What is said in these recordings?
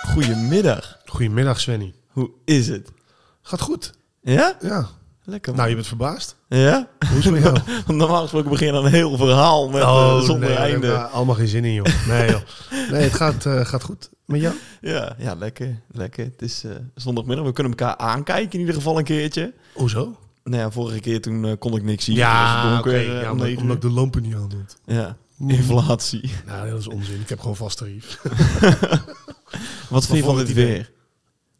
Goedemiddag. Goedemiddag, Svenny. Hoe is het? Gaat goed. Ja? Ja. Lekker. man. Nou, je bent verbaasd. Ja? Hoe is het met jou? Normaal gesproken begin je dan een heel verhaal met eh, zonder Oh, nee, einde. daar heb ik, eh, allemaal geen zin in, joh. Nee, joh. nee het gaat, eh, gaat goed. Met jou? Ja, ja, lekker. Lekker. Het is eh, zondagmiddag. We kunnen elkaar aankijken in ieder geval een keertje. Hoezo? Nou ja, vorige keer toen eh, kon ik niks zien. Het was Ja, oké. donker, eh, ja, om omdat, negen omdat ik de lampen niet aan doet. uur. ja, inflatie. Nou, dat is onzin. Ik heb gewoon vast tarief. Wat vind je van vond dit ik die weer?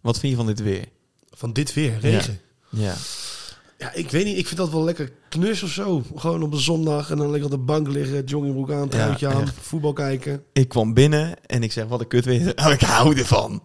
Wat vind je van dit weer? Van dit weer, regen. Ja. Ja. ik weet niet. Ik vind dat wel lekker knus of zo. Gewoon op een zondag en dan lekker op de bank liggen, joggingbroek aan, truitje aan, echt. voetbal kijken. Ik kwam binnen en ik zeg, wat een kut weer. Oh, ik hou ervan.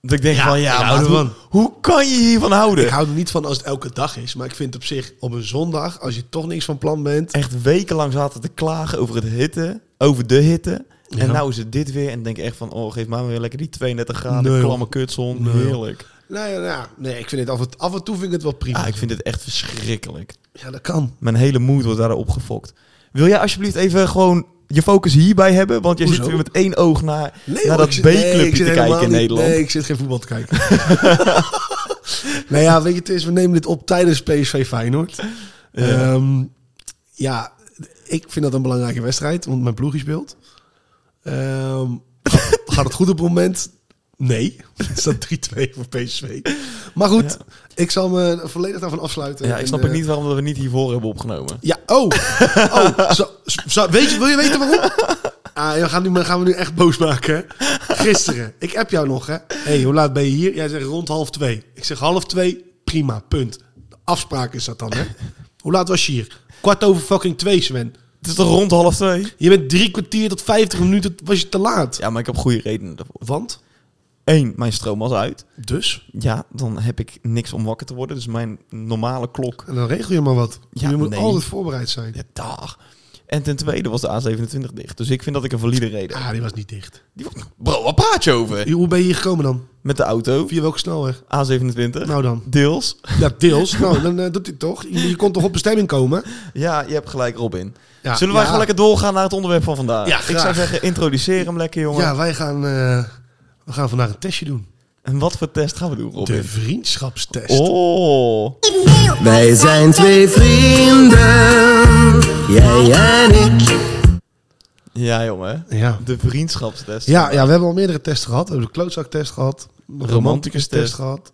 Dat ik denk van, ja, ik maar hou hoe, ervan. hoe kan je hiervan houden? Ik hou er niet van als het elke dag is, maar ik vind op zich op een zondag, als je toch niks van plan bent, echt wekenlang zaten te klagen over het hitte, over de hitte. En Ja. nou is het dit weer en denk ik echt van, oh, geef maar weer lekker die 32 graden, Nee, klamme kutzon, Nee, joh. heerlijk. Nou ja, nou ja, nee, ik vind het af en, af en toe vind ik het wel prima. Ah, ik vind het echt verschrikkelijk. Ja, dat kan. Mijn hele moed wordt daarop gefokt. Wil jij alsjeblieft even gewoon je focus hierbij hebben? Want jij zit Hoezo? weer met één oog naar, Nee, naar hoor, dat ik zit- nee, B-clubje ik zit te helemaal kijken in niet- Nederland. Nee, ik zit geen voetbal te kijken. nou ja, weet je, het is, we nemen dit op tijdens PSV Feyenoord. Ja. Ja. ja, ik vind dat een belangrijke wedstrijd, want mijn ploegje speelt. Ehm, gaat- gaat het goed op het moment? Nee. Het staat 3-2 voor PSV. Maar goed, ik zal me volledig daarvan afsluiten. Ja, ik En, snap ook eh, niet waarom we het niet hiervoor hebben opgenomen. Ja, oh. oh zo, zo- weet je, wil je weten waarom? Ah, ja, gaan, nu, maar gaan we nu echt boos maken, hè? Gisteren. Ik app jou nog, hè? Hé, hey, hoe laat ben je hier? Jij zegt rond half twee. Ik zeg half twee, prima, punt. De afspraak is dat dan, hè? Hoe laat was je hier? Kwart over fucking twee, Sven. Het is toch rond half twee? Je bent drie kwartier tot vijftig minuten, was je te laat. Ja, maar ik heb goede redenen daarvoor. Want? Eén, mijn stroom was uit. Dus? Ja, dan heb ik niks om wakker te worden. Dus mijn normale klok En dan regel je maar wat. Ja, je moet nee. altijd voorbereid zijn. Ja, dag. En ten tweede was de A27 dicht. Dus ik vind dat ik een valide reden heb. Ah, die was niet dicht. Die- Bro, waar praat je over? Hoe ben je hier gekomen dan? Met de auto, Via welke snelweg? A27. Nou dan. Deels. Ja, deels. Nou, dan eh, doet hij het toch. Je, je kon toch op bestemming komen? Ja, je hebt gelijk, Robin. Ja, Zullen wij ja. gewoon lekker doorgaan naar het onderwerp van vandaag? Ja, ik graag. zou zeggen, introduceer hem lekker, jongen. Ja, wij gaan, eh, we gaan vandaag een testje doen. En wat voor test gaan we doen, De Robin? vriendschapstest. Oh. Wij zijn twee vrienden, jij en ik. Ja, jongen. Ja. De vriendschapstest. Ja, ja, we hebben al meerdere tests gehad. We hebben de klootzaktest gehad. De romanticus test. test gehad.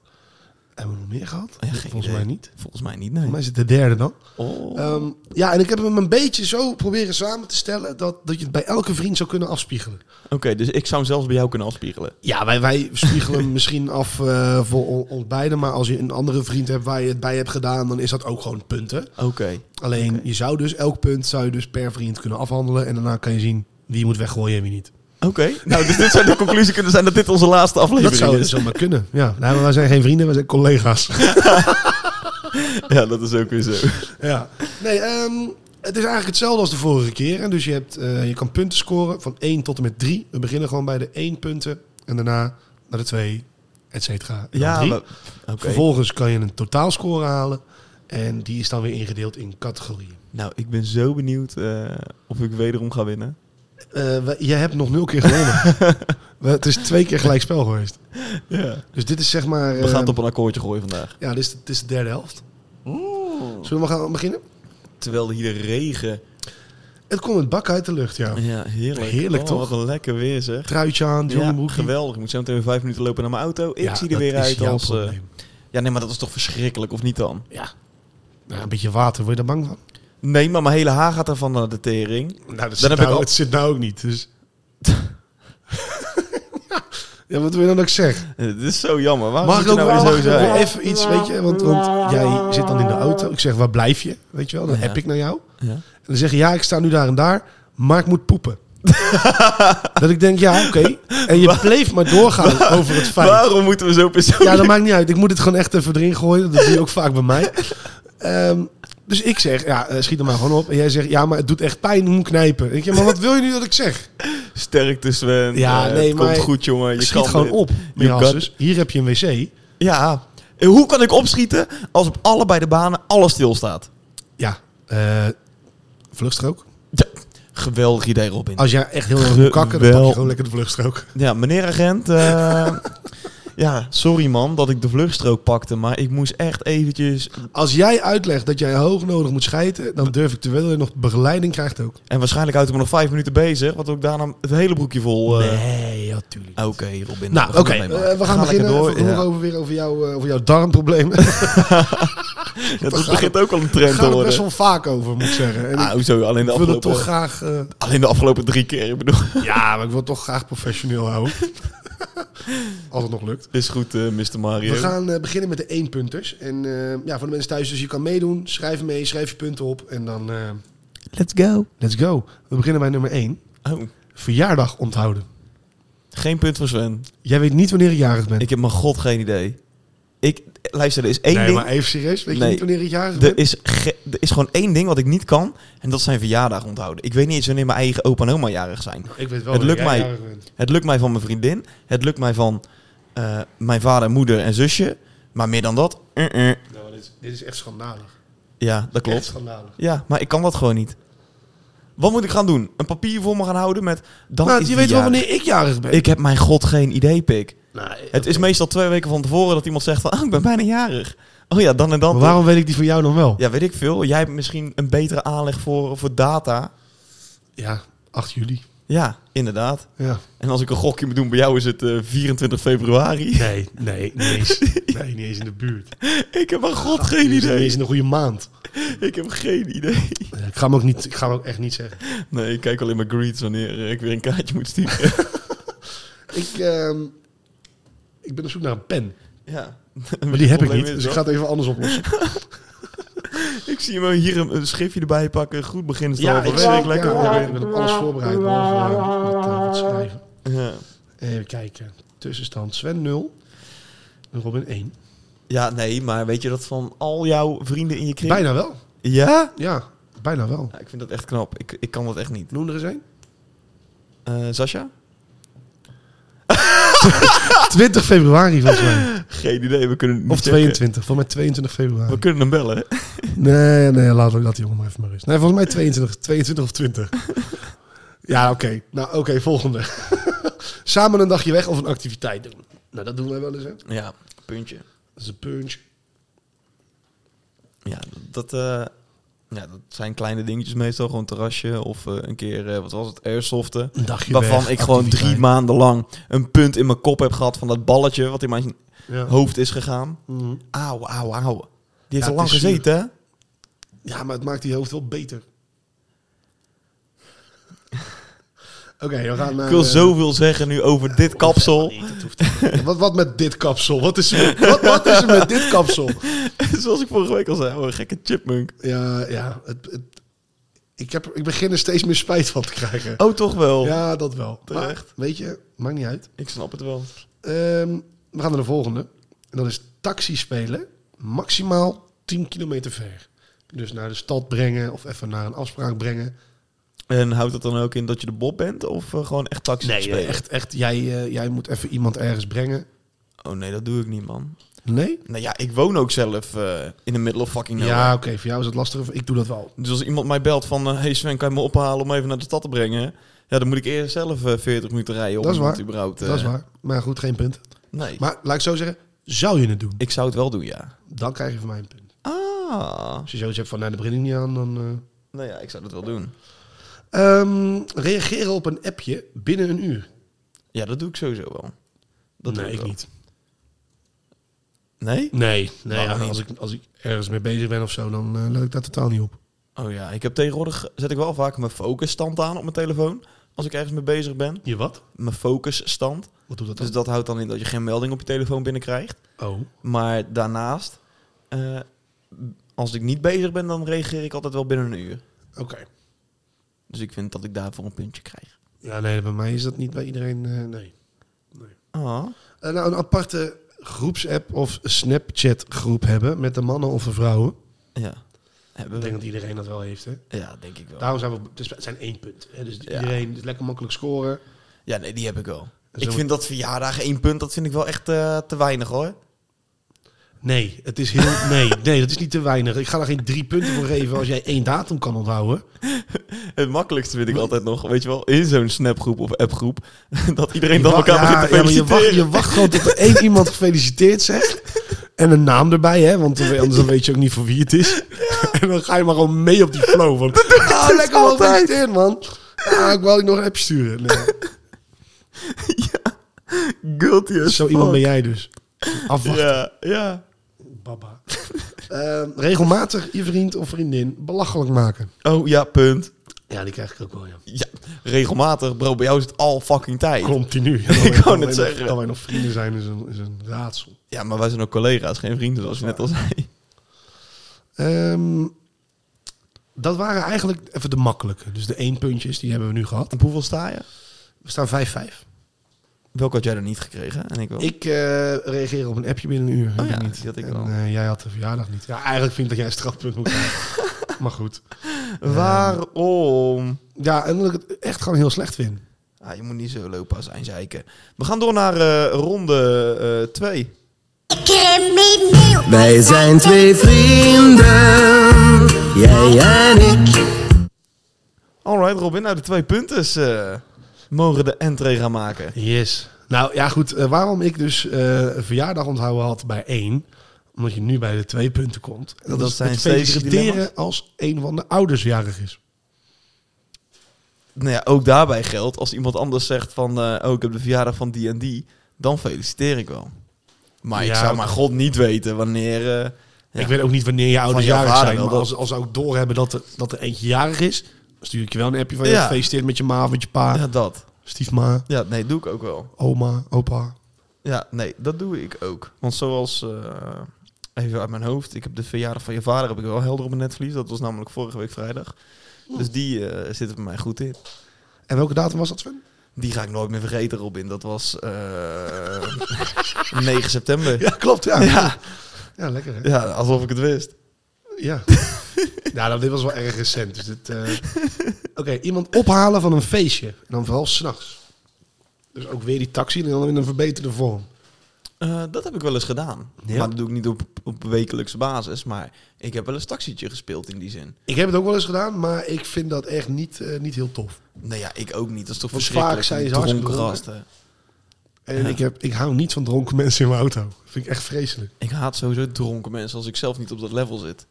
Hebben we nog meer gehad? Ja, geen Volgens idee. mij niet. Volgens mij niet, nee. Volgens mij is het de derde dan. Oh. Ehm, ja, en ik heb hem een beetje zo proberen samen te stellen... dat, dat je het bij elke vriend zou kunnen afspiegelen. Oké, dus ik zou hem zelfs bij jou kunnen afspiegelen. Ja, wij, wij spiegelen hem misschien af eh, voor on- ons beiden... maar als je een andere vriend hebt waar je het bij hebt gedaan... dan is dat ook gewoon punten. Oké. Alleen je zou dus elk punt zou je dus per vriend kunnen afhandelen. En daarna kan je zien wie je moet weggooien en wie niet. Oké. Nou, dus dit zou de conclusie kunnen zijn dat dit onze laatste aflevering Dat zou is. zomaar kunnen. Ja, nou, maar wij zijn geen vrienden, wij zijn collega's. Ja, dat is ook weer zo. ja. Nee, ehm, het is eigenlijk hetzelfde als de vorige keer. En dus je, hebt, eh, je kan punten scoren van 1 tot en met 3. We beginnen gewoon bij de 1 punten. En daarna naar de 2, et cetera. en dan Ja, drie. maar- oké. Vervolgens kan je een totaalscore halen. En die is dan weer ingedeeld in categorieën. Nou, ik ben zo benieuwd eh, of ik wederom ga winnen. Eh, we- jij hebt nog nul keer gewonnen. We- het is twee keer gelijk spel geweest. Ja. Dus dit is zeg maar... We gaan het eh, op een akkoordje gooien vandaag. Ja, dit is, dit is de derde helft. Zullen we maar gaan beginnen? Terwijl hier de regen... Het komt het bak uit de lucht, ja. Ja, heerlijk. Heerlijk, Oh, toch? Wat een lekker weer, zeg. Truitje aan, Ja, joggingbroekje. geweldig. Ik moet zo meteen weer vijf minuten lopen naar mijn auto. Ik Ja, zie er dat weer is uit jouw als... eh, probleem. ja, nee, maar dat is toch verschrikkelijk, of niet dan? Ja. Nou, een beetje water, word je daar bang van? Nee, maar mijn hele haar gaat ervan naar de tering. Nou, dat zit nou- het het zit nou ook niet, dus... ja, wat wil je dan ook zeggen? Eh, Dit is zo jammer. Waarom Mag moet ik je ook nou wel weer zo mag ik zijn? ook wel even iets, weet je? Want, want jij zit dan in de auto. Ik zeg, waar blijf je? Weet je wel, dan Ja. app ik naar jou. Ja. En dan zeg je, ja, ik sta nu daar en daar, maar ik moet poepen. dat ik denk, ja, oké. En je bleef maar doorgaan over het feit. Waarom moeten we zo persoonlijk... Ja, dat maakt niet uit. Ik moet het gewoon echt even erin gooien. Dat doe je ook vaak bij mij. Ehm, dus ik zeg, ja, eh, schiet er maar gewoon op. En jij zegt, ja, maar het doet echt pijn, ik moet knijpen. Ik zeg, maar wat wil je nu dat ik zeg? Sterkte Sven. Ja, Eh, nee, het maar komt goed, jongen. Je schiet kan gewoon dit. op. Je Ja, kan- dus hier heb je een wc. Ja. En Hoe kan ik opschieten als op allebei de banen alles stilstaat? Ja, eh, vluchtstrook. Ja. Geweldig idee, Robin. Als jij echt heel erg moet kakken, dan pak je Geweld. gewoon lekker de vluchtstrook. Ah, Ja, meneer agent. eh, ja, sorry man dat ik de vluchtstrook pakte, maar ik moest echt eventjes... Als jij uitlegt dat jij hoog nodig moet schijten, dan durf ik te wel dat je nog begeleiding krijgt ook. En waarschijnlijk houdt het me nog vijf minuten bezig, want ook daarna het hele broekje vol... eh, Nee, natuurlijk. Oké, Robin. Nou, we oké. gaan het meemaken. eh, we gaan Ga lekker beginnen. Door, we Door. horen Ja. over weer over, jou, eh, over jouw darmproblemen. Ja, dat begint ook al een Daar trend te gaan we best worden. wel vaak over, moet ik zeggen. En Ah, hoezo? Alleen de, ik wil het afgelopen, toch graag... eh, alleen de afgelopen drie keer. Ik bedoel, ja, maar ik wil het toch graag professioneel houden. Als het nog lukt. is goed, eh Mr. Mario. We gaan eh, beginnen met de éénpunters. En eh, ja, voor de mensen thuis, dus je kan meedoen. Schrijf mee, schrijf je punten op. En dan, eh, Let's go. let's go. We beginnen bij nummer 1. Oh, Verjaardag onthouden. geen punt voor Sven. Jij weet niet wanneer je jarig bent. Ik heb mijn god geen idee. Ik, luister, er is één nee, ding... maar even serieus. Weet Nee. je niet wanneer je jarig Er bent? is, ge- er is gewoon één ding wat ik niet kan. En dat zijn verjaardag onthouden. Ik weet niet eens wanneer mijn eigen opa en oma jarig zijn. Ik weet wel het wanneer lukt jij mij. jarig bent. Het lukt mij van mijn vriendin. Het lukt mij van eh, mijn vader, moeder en zusje. Maar meer dan dat. eh, eh. Nou, maar dit, is, dit is echt schandalig. Ja, dat Echt klopt. schandalig. Ja, maar ik kan dat gewoon niet. Wat moet ik gaan doen? Een papier voor me gaan houden met. Dat Nou, is je die weet wel jarig. wanneer ik jarig ben. Ik heb mijn god geen idee, pik. Nee, Het is meestal twee weken van tevoren dat iemand zegt van, oh, ik ben bijna jarig. Oh ja, dan en dan. maar waarom weet ik die van jou dan wel? Ja, weet ik veel. Jij hebt misschien een betere aanleg voor, voor data. Ja, 8 juli. Ja, inderdaad. Ja. En als ik een gokje moet doen bij jou is het eh, 24 februari. Nee, nee, niet eens. Nee, niet eens in de buurt. ik heb mijn god Dit geen is niet eens idee. in een goede maand. Ik heb geen idee. Ja, Ik ga hem ook, niet, ik ga hem ook echt niet zeggen. Nee, ik kijk alleen maar greets wanneer eh, ik weer een kaartje moet sturen. Ik, ehm, ik ben op zoek naar een pen. ja. Maar die heb ik Probleem niet, is dus ik dat- ga het even anders oplossen. Ik zie hem hier een, een schriftje erbij pakken. Goed begin is het halve zie- werk. Lekker. ja, Robin. ik ben op alles voorbereid, behalve eh, met, eh, wat schrijven. Ja. Even kijken. Tussenstand Sven 0. Robin 1. ja, nee, maar weet je dat van al jouw vrienden in je kring? Bijna wel. Ja? Ja, bijna wel. Ja, Ik vind dat echt knap. Ik, ik kan dat echt niet. Noem er eens een. Eh Sascha? 20 februari volgens mij. Geen idee, we kunnen het niet Of checken. 22. Volgens mij 22 februari. We kunnen hem bellen. Nee, nee, laat ook dat jongen maar even maar rust. Nee, volgens mij 22, 22 of 20. ja, oké. Nou, oké, volgende. Samen een dagje weg of een activiteit doen. Nou, dat doen wij wel eens, hè? Ja, puntje. Dat is een punch. Ja, dat, eh, ja, dat zijn kleine dingetjes meestal. Gewoon terrasje of eh, een keer, eh, wat was het, airsoften. Een dagje Waarvan weg, ik gewoon drie activiteit. maanden lang een punt in mijn kop heb gehad van dat balletje wat in mijn Ja. hoofd is gegaan. Mhm. Auw, auw, auw. Die heeft het al lang is zuur. gezeten, hè? Ja, maar het maakt die hoofd wel beter. Oké, we gaan naar... Ik wil eh, zoveel zeggen nu over dit kapsel. wat, wat met dit kapsel? Wat is, er- wat, wat is er met dit kapsel? Zoals ik vorige week al zei, oh, een gekke chipmunk. Ja, ja. Het, het- ik, heb, ik begin er steeds meer spijt van te krijgen. Oh, toch wel. Ja, dat wel. Terecht. Maar, weet je, maakt niet uit. Ik snap het wel. Ehm, we gaan naar de volgende. En dat is taxi spelen. Maximaal 10 kilometer ver. Dus naar de stad brengen of even naar een afspraak brengen. En houdt dat dan ook in dat je de bob bent of eh, gewoon echt taxi spelen? echt, echt. Jij, eh, jij moet even iemand ergens brengen. Oh nee, dat doe ik niet, man. Nee? Nou ja, ik woon ook zelf eh, in de middle of fucking nowhere. Ja, oké. Voor jou is het lastig. Ik doe dat wel. Dus als iemand mij belt van... eh, hey Sven, kan je me ophalen om even naar de stad te brengen? Ja, dan moet ik eerst zelf eh, 40 minuten rijden. om Dat is waar. iemand Überhaupt, eh, Dat is waar. Maar goed, geen punt. Nee, Maar laat ik zo zeggen. Zou je het doen? ik zou het wel doen, ja. Dan krijg je van mij een punt. Ah. Als je zoiets hebt van, nou, daar begin ik niet aan, dan... eh. Nou ja, ik zou dat wel doen. Ehm, reageren op een appje binnen een uur. Ja, dat doe ik sowieso wel. Dat doe nee, ik wel. niet. Nee? Nee, nee Waarom ja, niet? als, ik, als ik ergens mee bezig ben of zo, dan eh, let ik daar totaal niet op. Oh ja, ik heb tegenwoordig... Zet ik wel vaak mijn focusstand aan op mijn telefoon. Als ik ergens mee bezig ben. Je wat? Mijn focusstand. Wat doet dat Dus dat houdt dan in dat je geen melding op je telefoon binnenkrijgt. Oh. Maar daarnaast... eh, als ik niet bezig ben, dan reageer ik altijd wel binnen een uur. Oké. Dus ik vind dat ik daarvoor een puntje krijg. Ja, nee, bij mij is dat niet bij iedereen, eh, nee. nee. Ah. Eh, nou, een aparte groepsapp of Snapchat groep hebben met de mannen of de vrouwen. Ja. Hebben Ik denk we. dat iedereen dat wel heeft, hè. Ja, denk ik wel. Daarom zijn we, dus het zijn één punt. Hè? Dus Ja. iedereen is lekker makkelijk scoren. Ja, nee, die heb ik wel. Zo ik moet- vind dat verjaardagen één punt, dat vind ik wel echt eh, te weinig hoor. Nee, het is heel, nee, nee, dat is niet te weinig. Ik ga daar geen drie punten voor geven als jij één datum kan onthouden. Hé, Het makkelijkste vind ik altijd nog, weet je wel, in zo'n snapgroep of appgroep, dat iedereen dan Wa- elkaar ja, begint te ja, maar je wacht, feliciteren. je wacht gewoon tot er één iemand gefeliciteerd zegt. En een naam erbij, hè? Want anders dan weet je ook niet voor wie het is. En dan ga je maar gewoon mee op die flow. Van, ah, lekker wel dus altijd. gefeliciteerd, man. Ah, ik wil je nog een app sturen. Nee, Guilty as zo iemand fuck. ben jij dus. Afwachten. Oh, Ja, ja. Baba. Ehm, regelmatig je vriend of vriendin belachelijk maken. Oh ja, punt. Ja, die krijg ik ook wel, ja. Ja, regelmatig, bro. Bij jou is het al fucking tijd. Continu. Ik wou net het zeggen. Dat wij nog vrienden zijn is een, is een raadsel. Ja, maar wij zijn ook collega's, geen vrienden, zoals je net al zei. Ehm, dat waren eigenlijk even de makkelijke. Dus de één puntjes, die hebben we nu gehad. Op hoeveel sta je? We staan 5-5. Welke had jij er niet gekregen? En ik wel. Ik eh, reageer op een appje binnen een uur. Oh Ik ja, niet. die had ik En, wel. eh, jij had de verjaardag niet. Ja, eigenlijk vind ik dat jij een strafpunt moet krijgen. maar goed. Eh, Waarom? Ja, en dat ik het echt gewoon heel slecht vind. Ah, je moet niet zo lopen als een zeiken. We gaan door naar eh, ronde eh, 2. Crimineel. Wij zijn twee vrienden, jij en ik. Alright, Robin, nou de twee punten eh mogen de entree gaan maken. Yes. Nou ja, goed. eh, waarom ik dus eh, een verjaardag onthouden had bij één. Omdat je nu bij de twee punten komt. En dat, Dat is zijn het steeds feliciteren dilemma's. als een van de ouders jarig is. Nou ja, ook daarbij geldt, als iemand anders zegt van... eh, oh, ik heb de verjaardag van die en die, dan feliciteer ik wel. Maar ik Ja, zou oké. maar god niet weten wanneer... eh, Ja. Ik weet ook niet wanneer je ouders jouw jarig vader zijn. wel, Maar dat- als, als ze ook doorhebben dat er, dat er eentje jarig is... stuur ik je wel een appje van... je Ja. Gefeliciteerd met je ma of met je pa. ja, dat. Stiefma, Ja, nee, doe ik ook wel. oma, opa. Ja, nee, dat doe ik ook. Want zoals, eh, even uit mijn hoofd, ik heb de verjaardag van je vader heb ik wel helder op mijn netvlies. Dat was namelijk vorige week vrijdag. Dus die eh, zit er bij mij goed in. En welke datum was dat, Sven? Die ga ik nooit meer vergeten, Robin. Dat was eh 9 september. Ja, klopt. Ja, ja. Ja, lekker hè? ja, alsof ik het wist. Ja. ja, nou, dit was wel erg recent. Dus dit, eh, Oké, iemand ophalen van een feestje. En dan vooral s'nachts. Dus ook weer die taxi en dan in een verbeterde vorm. Eh, dat heb ik wel eens gedaan. Ja? Maar dat doe ik niet op, op wekelijkse basis. Maar ik heb wel eens taxietje gespeeld in die zin. Ik heb het ook wel eens gedaan, maar ik vind dat echt niet, eh, niet heel tof. Nee, Nou ja, ik ook niet. Dat is toch Want verschrikkelijk. vaak zijn die ze hartstikke dronken dronken. gasten. En ik, heb, ik hou niet van dronken mensen in mijn auto. Dat vind ik echt vreselijk. Ik haat sowieso dronken mensen als ik zelf niet op dat level zit.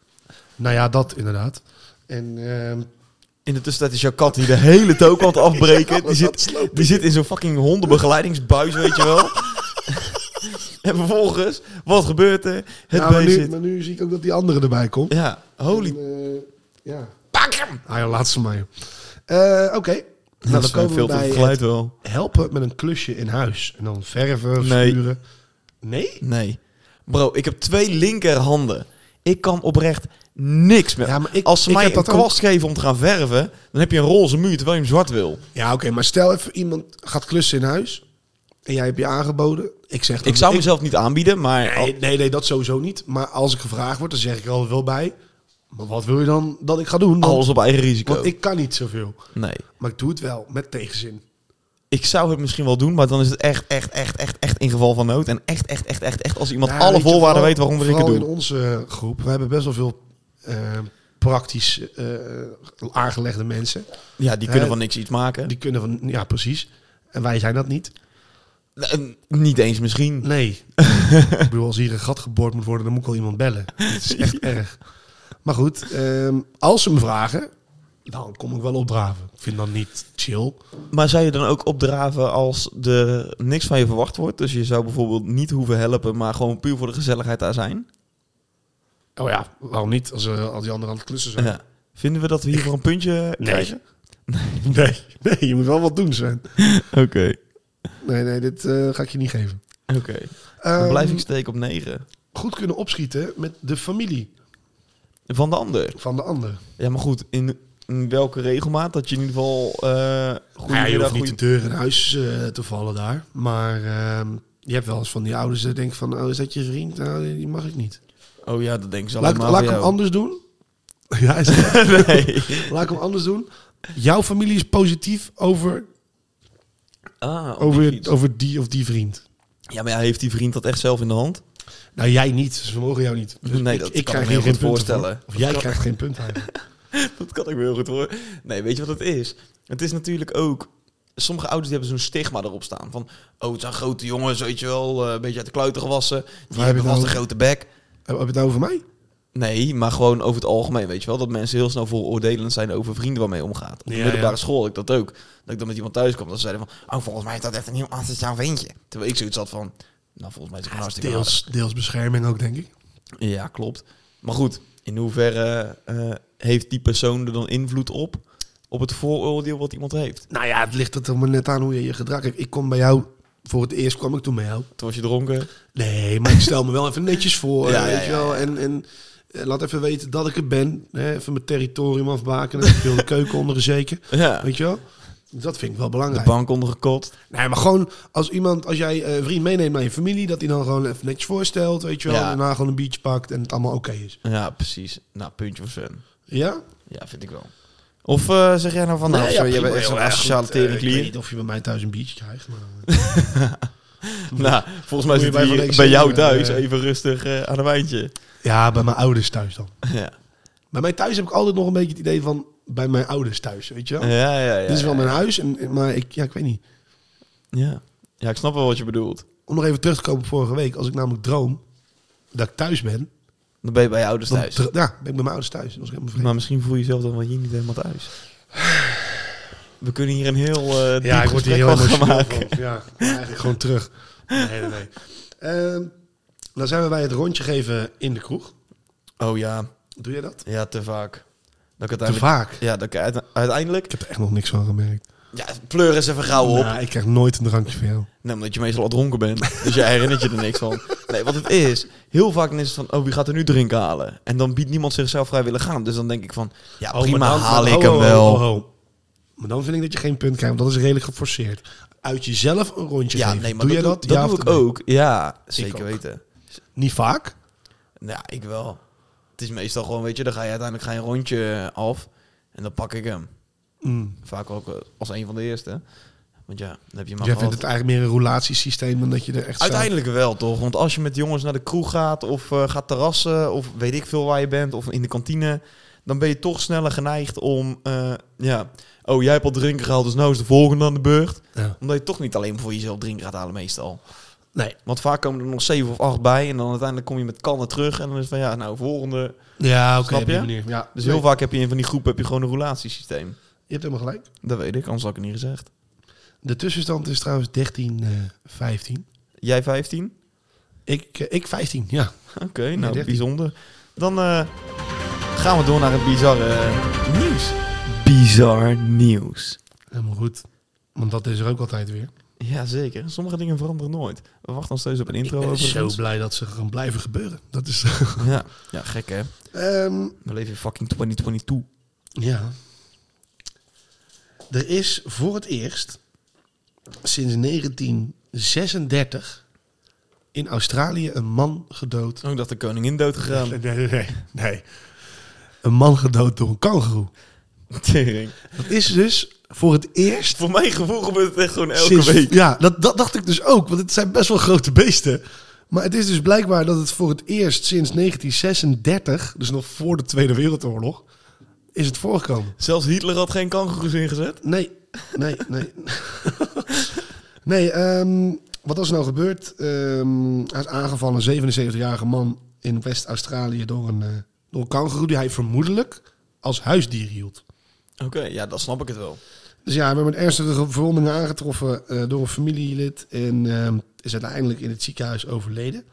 Nou ja, dat inderdaad. En ehm, In de tussentijd is jouw kat die de hele toon kan afbreken. Ja, die, dat zit, sloop ik. die zit in zo'n fucking hondenbegeleidingsbuis, weet je wel. en vervolgens, wat gebeurt er? Het ja, maar, beest nu, zit... maar nu zie ik ook dat die andere erbij komt. Ja, holy... En, eh, ja. Pak hem! Ah ja, laatste maar. joh. Eh, Oké. Nou, dan komen we veel te bij geluid wel. het helpen met een klusje in huis. En dan verven, Nee. schuren. Nee? Nee. Bro, ik heb twee linkerhanden. Ik kan oprecht niks meer. Ja, maar ik- Als ze ik mij heb een dat ook. kwast geven om te gaan verven, dan heb je een roze muur terwijl je hem zwart wil. Ja, oké. maar stel even iemand gaat klussen in huis. En jij hebt je aangeboden. Ik zeg dan- Ik zou mezelf niet aanbieden, maar... Nee, nee, nee, dat sowieso niet. Maar als ik gevraagd word, dan zeg ik er altijd wel bij. Maar wat wil je dan dat ik ga doen? Want, Alles op eigen risico. want ik kan niet zoveel. Nee. Maar ik doe het wel, met tegenzin. Ik zou het misschien wel doen, maar dan is het echt, echt, echt, echt, echt in geval van nood. En echt, echt, echt, echt, echt als iemand Nou, alle weet je, voorwaarden vooral- weet waarom ik het vooral doe. in onze eh, groep, we hebben best wel veel eh, praktisch eh, aangelegde mensen. Ja, die kunnen Hè? van niks iets maken. Die kunnen van, ja precies. En wij zijn dat niet. Eh, niet eens misschien. Nee. ik bedoel, als hier een gat geboord moet worden, dan moet ik al iemand bellen. Het is echt erg. Maar goed, ehm, als ze me vragen, dan kom ik wel opdraven. Ik vind dat niet chill. Maar zou je dan ook opdraven als er niks van je verwacht wordt? Dus je zou bijvoorbeeld niet hoeven helpen, maar gewoon puur voor de gezelligheid daar zijn? Oh ja, waarom niet? Als eh, al die anderen aan het klussen zijn. Ja. Vinden we dat we hiervoor een puntje krijgen? Nee, nee, je moet wel wat doen, zijn. Oké. Nee, nee, dit eh, ga ik je niet geven. Oké. Dan blijf Ehm, ik steken op 9. goed kunnen opschieten met de familie Van de ander. van de ander. Ja, maar goed. In, in welke regelmaat? Dat je in ieder geval... eh ja, je goedemiddag, hoeft goeie- niet de deur in huis eh, te vallen daar. Maar ehm, je hebt wel eens van die ouders die denken van... Oh, is dat je vriend? Nou, die mag ik niet. Oh ja, dat denk ze Laat, allemaal ik- laat ik voor hem jou. anders doen. Ja, is het- Nee. laat ik hem anders doen. Jouw familie is positief Oh, over, Ah, op die over, fiets. over die of die vriend. Ja, maar ja, heeft die vriend dat echt zelf in de hand? Nou, jij niet. Ze mogen jou niet. Nee, ik- dat kan ik krijg ik me hier heel geen goed punten voorstellen. voor. Of jij krijgt geen Eh, punt eigenlijk. dat kan ik me heel goed hoor. Nee, weet je wat het is? Het is natuurlijk ook... Sommige ouders die hebben zo'n stigma erop staan. Van, oh, het zijn grote jongens, weet je wel. eh, Een beetje uit de kluiten gewassen. Die je hebben het vast een over? grote bek. Heb je het nou over mij? Nee, maar gewoon over het algemeen, weet je wel. Dat mensen heel snel vooroordelend zijn over vrienden waarmee je omgaat. Op de Ja, middelbare ja. school had ik dat ook. Dat ik dan met iemand thuis kwam, dat ze zeiden van... Oh, volgens mij is dat echt een heel asociaal ventje. Terwijl ik zoiets had van... Nou, volgens mij is het een hartstikke Deels, deels bescherming ook, denk ik. Ja, klopt. Maar goed, in hoeverre eh, heeft die persoon er dan invloed op? Op het vooroordeel wat iemand heeft. Nou ja, het ligt er toch maar net aan hoe je je gedrag hebt. Ik kom bij jou, voor het eerst kwam ik toen bij jou. Toen was je dronken. Nee, maar ik stel me wel even netjes voor, Ja, eh, ja, weet je ja, wel. En, en eh, laat even weten dat ik er ben. Hè, even mijn territorium afbakenen. Ik wil de keuken onder zeker. Ja. Weet je wel? Dat vind ik wel De belangrijk. bank ondergekotst. Nee, maar gewoon als iemand, als jij eh, een vriend meeneemt naar je familie, dat hij dan gewoon even netjes voorstelt, weet je wel. Ja. En daarna gewoon een biertje pakt en het allemaal oké is. Ja, precies. Nou, puntje voor Sven. Ja? Ja, vind ik wel. Nou, Of eh, zeg jij nou van... Nou, Nee, sorry, jij prima, bent echt joh. zo'n Ja, asociale goed, eh, Ik weet teringklier. niet of je bij mij thuis een biertje krijgt, maar... eh. nou, volgens mij Moet zit je bij Van hij Dijk bij jou zingen, thuis eh. even rustig eh, aan een wijntje. Ja, bij mijn ouders thuis dan. Ja, Bij mij thuis heb ik altijd nog een beetje het idee van bij mijn ouders thuis, weet je wel. ja, ja. ja, Oh. Dit is wel ja. mijn huis, en, en- maar ik, ja, ik weet niet. Ja. ja, ik snap wel wat je bedoelt. Om nog even terug te komen op vorige week, als ik namelijk droom dat ik thuis ben, Dan ben je bij je ouders dan thuis. dro- ja, ben ik bij mijn ouders thuis. Dat was ik helemaal vergeten. Maar misschien voel je jezelf dan wel hier niet helemaal thuis. We kunnen hier een heel eh diep Ja, ik word hier gesprek heel van gaan emotioneel maken. van. Ja, maar eigenlijk gewoon terug. Nee, nee, nee. Ehm, dan zijn we bij het rondje geven in de kroeg. Oh ja, Doe jij dat? ja, te vaak. Dat ik Te uiteindelijk, vaak. Ik Ja, dat ik uite- uiteindelijk... heb er echt nog niks van gemerkt. Ja, pleur eens even gauw op. Nou, ik krijg nooit een drankje van jou. Nee, omdat je meestal al dronken bent. Dus je herinnert je er niks van. Nee, wat het is, heel vaak dan is het van, oh, wie gaat er nu drinken halen? En dan biedt niemand zichzelf vrijwillig aan. Dus dan denk ik van, ja, Oh, prima, maar dan- haal maar- ik ho, hem ho, wel. ho, ho. Maar dan vind ik dat je geen punt krijgt, want dat is redelijk geforceerd. Uit jezelf een rondje Ja, geven. nee, maar doe dat, jij doe- dat? Ja doe of ik nee? ook. Ja, zeker ook. weten. Nou, Niet vaak. Ja, ik wel. Het is meestal gewoon, weet je, dan ga je uiteindelijk ga je een rondje eh, af. En dan pak ik hem. Mm. Vaak ook eh, als een van de eerste. Want ja, dan heb je maar Jij vindt het eigenlijk meer een relatiesysteem dan dat je er echt zelf- Uiteindelijk wel, toch? Want als je met jongens naar de kroeg gaat of eh, gaat terrassen of weet ik veel waar je bent of in de kantine, dan ben je toch sneller geneigd om, eh, ja, oh jij hebt al drinken gehaald, dus nou is de volgende aan de beurt. Ja. Omdat je toch niet alleen voor jezelf drinken gaat halen meestal. Nee. Want vaak komen er nog zeven of acht bij en dan uiteindelijk kom je met kannen terug en dan is het van ja, nou volgende. Ja, oké. Snap op die je? manier. Ja. Dus Nee, heel vaak heb je in van die groepen heb je gewoon een relatiesysteem. Je hebt helemaal gelijk. Dat weet ik, anders had ik het niet gezegd. De tussenstand is trouwens 13, eh 15. Jij 15? Ik, eh, ik 15, ja. Oké, nou 13. bijzonder. Dan eh, gaan we door naar het bizarre eh, nieuws. Bizar nieuws. Helemaal goed. Want dat is er ook altijd weer. Jazeker, sommige dingen veranderen nooit. We wachten nog steeds op een intro ik ben over. zo blij dat ze gaan blijven gebeuren. Dat is... Ja. ja, gek hè. Ehm, We leven in fucking 2022. ja. Er is voor het eerst sinds 1936 in Australië een man gedood. Ook dat de koningin dood gegaan. Nee, nee, nee, nee. Een man gedood door een kangoeroe. Tering. Dat is dus voor het eerst Voor mijn gevoel gebeurt het echt gewoon elke Sinds- week. Ja, dat, dat dacht ik dus ook, want het zijn best wel grote beesten. Maar het is dus blijkbaar dat het voor het eerst sinds 1936, dus nog voor de Tweede Wereldoorlog, is het voorgekomen. Zelfs Hitler had geen kangoeroes ingezet. Nee, nee, nee. nee, ehm, wat is er nou gebeurd? Ehm, hij is aangevallen, een 77-jarige man in West-Australië door een, eh door een kangoeroe die hij vermoedelijk als huisdier hield. Oké, ja, dan snap ik het wel. Dus ja, we hebben een ernstige verwondingen aangetroffen eh, door een familielid. En ehm, is uiteindelijk in het ziekenhuis overleden.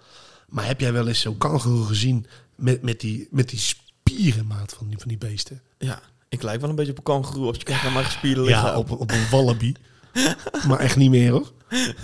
Maar heb jij wel eens zo'n kangoeroe gezien met, met, die, met die spierenmaat van die, van die beesten? Ja, ik lijk wel een beetje op een kangoeroe als je kijkt naar mijn gespierde lichaam. op, op een wallaby. maar echt niet meer hoor.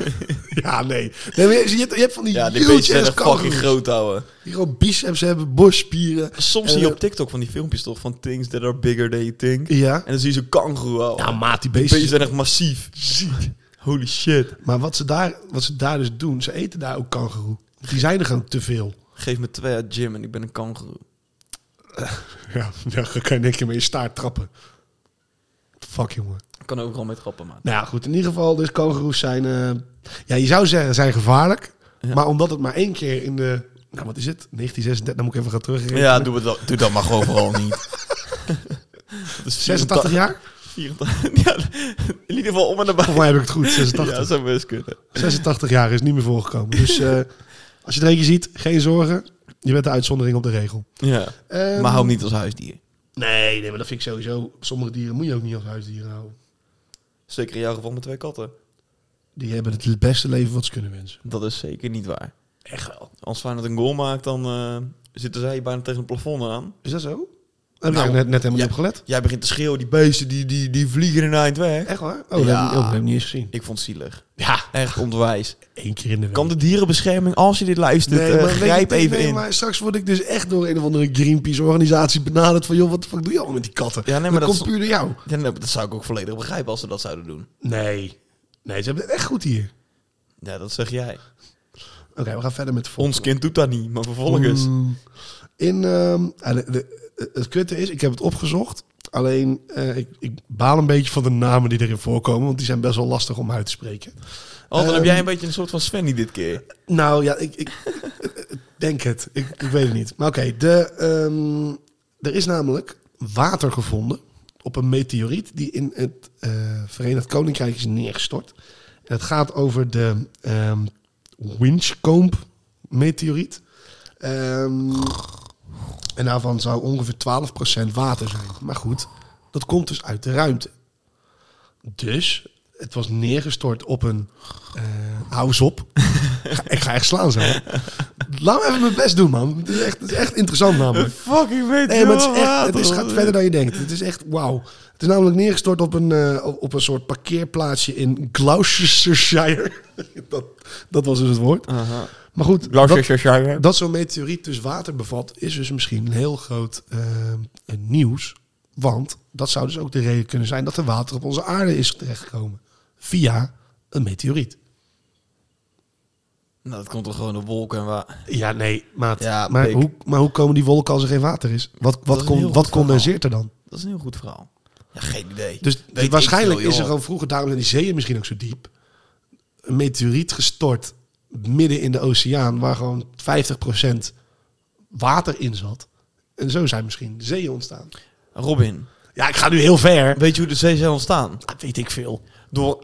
ja, nee. nee maar je, je hebt- je hebt van die Ja, die huge beesten zijn ass echt fucking kangoeroes. groot houden. Die gewoon biceps hebben, borstspieren. Soms En, zie je eh, op TikTok van die filmpjes toch van things that are bigger than you think. Ja. En dan zie je zo'n kangoeroe. ouwe. Ja, maat, Die die beesten. beesten zijn echt massief. Ziek. Holy shit. Maar wat ze, daar, wat ze daar dus doen, ze eten daar ook kangoeroe. Die zijn er gewoon te veel. Geef me twee uit gym en ik ben een kangoeroe. Ja, daar kan je denk je met je staart trappen. Fuck, jongen. Ik kan ook gewoon met grappen maken. Nou ja, goed. In ieder geval, dus kangoeroes zijn... eh, ja, je zou zeggen, zijn gevaarlijk. Maar omdat het maar één keer in de... Nou, wat is het? 1936, dan moet ik even gaan terugrekenen. Ja, doe, het, wel- doe dat maar gewoon vooral niet. Dat is 86 jaar? 84 Ja, in ieder geval om en nabij. Of waar heb ik het goed? 86. Ja, zou best kunnen. 86 jaar is niet meer voorgekomen. Dus eh, als je er eentje ziet, geen zorgen. Je bent de uitzondering op de regel. Ja. Ehm, maar hou hem niet als huisdier. Nee, nee, maar dat vind ik sowieso. Sommige dieren moet je ook niet als huisdieren houden. Zeker in jouw geval met twee katten. Die hebben het beste leven wat ze kunnen wensen. Dat is zeker niet waar. Echt wel. Als Feyenoord een goal maakt, dan eh, zitten zij bijna tegen het plafond aan. Is dat zo? Heb Nou, ik net, net helemaal ja. niet op gelet. Jij begint te schreeuwen, die beesten die, die, die vliegen in eind weg. Echt waar? Oh, dat, Ja. heb ik, oh, dat heb ik niet eens gezien. Ik vond het zielig. Ja, Echt onwijs. Eh, één keer in de week. Kan de dierenbescherming, als je dit luistert, Nee, eh, maar weet je grijp wat ik even denk? in. Maar straks word ik dus echt door een of andere Greenpeace-organisatie benaderd van... joh, wat de fuck doe je allemaal met die katten? Ja, nee, maar dat komt puur door jou. Ja, nee, dat zou ik ook volledig begrijpen als ze dat zouden doen. Nee. Nee, ze hebben het echt goed hier. Ja, dat zeg jij. Oké, we gaan verder met de volgende. Ons kind doet dat niet, maar vervolgens. Mm, in, ehm, ah, de- de- het kutte is, ik heb het opgezocht. Alleen, eh, ik, ik baal een beetje van de namen die erin voorkomen... want die zijn best wel lastig om uit te spreken. Oh, dan Ehm, heb jij een beetje een soort van Svenny dit keer. Nou ja, ik, ik denk het. Ik, ik weet het niet. Maar oké, de, ehm, er is namelijk water gevonden op een meteoriet die in het eh, Verenigd Koninkrijk is neergestort. En het gaat over de ehm Winchcombe meteoriet. Ehm, en daarvan zou ongeveer 12% water zijn. Maar goed, dat komt dus uit de ruimte. Dus het was neergestort op een. eh hou eens op. Ik ga- ik ga echt slaan zo. Laat me even mijn best doen, man. Het is echt, het is echt interessant namelijk. Fucking weet Nee, maar het, is echt, het is, gaat verder dan je denkt. Het is echt wauw. Het is namelijk neergestort op een, eh, op- op een soort parkeerplaatsje in Gloucestershire. dat, dat was dus het woord. Maar goed, dat, dat zo'n meteoriet dus water bevat, is dus misschien een heel groot eh, een nieuws. Want dat zou dus ook de reden kunnen zijn dat er water op onze aarde is terechtgekomen. Via een meteoriet. Nou, dat komt toch gewoon de wolken en waar. Ja, nee, maat. Ja, maar, pik. hoe, maar hoe komen die wolken als er geen water is? Wat, Dat is wat, een con- heel goed wat verhaal. condenseert er dan? Dat is een heel goed verhaal. Ja, geen idee. Dus Weet ik waarschijnlijk veel, is er joh. gewoon vroeger, daarom zijn die zeeën misschien ook zo diep, een meteoriet gestort midden in de oceaan waar gewoon 50% water in zat. En zo zijn misschien de zeeën ontstaan. Robin, Ja, ik ga nu heel ver. weet je hoe de zee zijn ontstaan? Dat weet ik veel. Door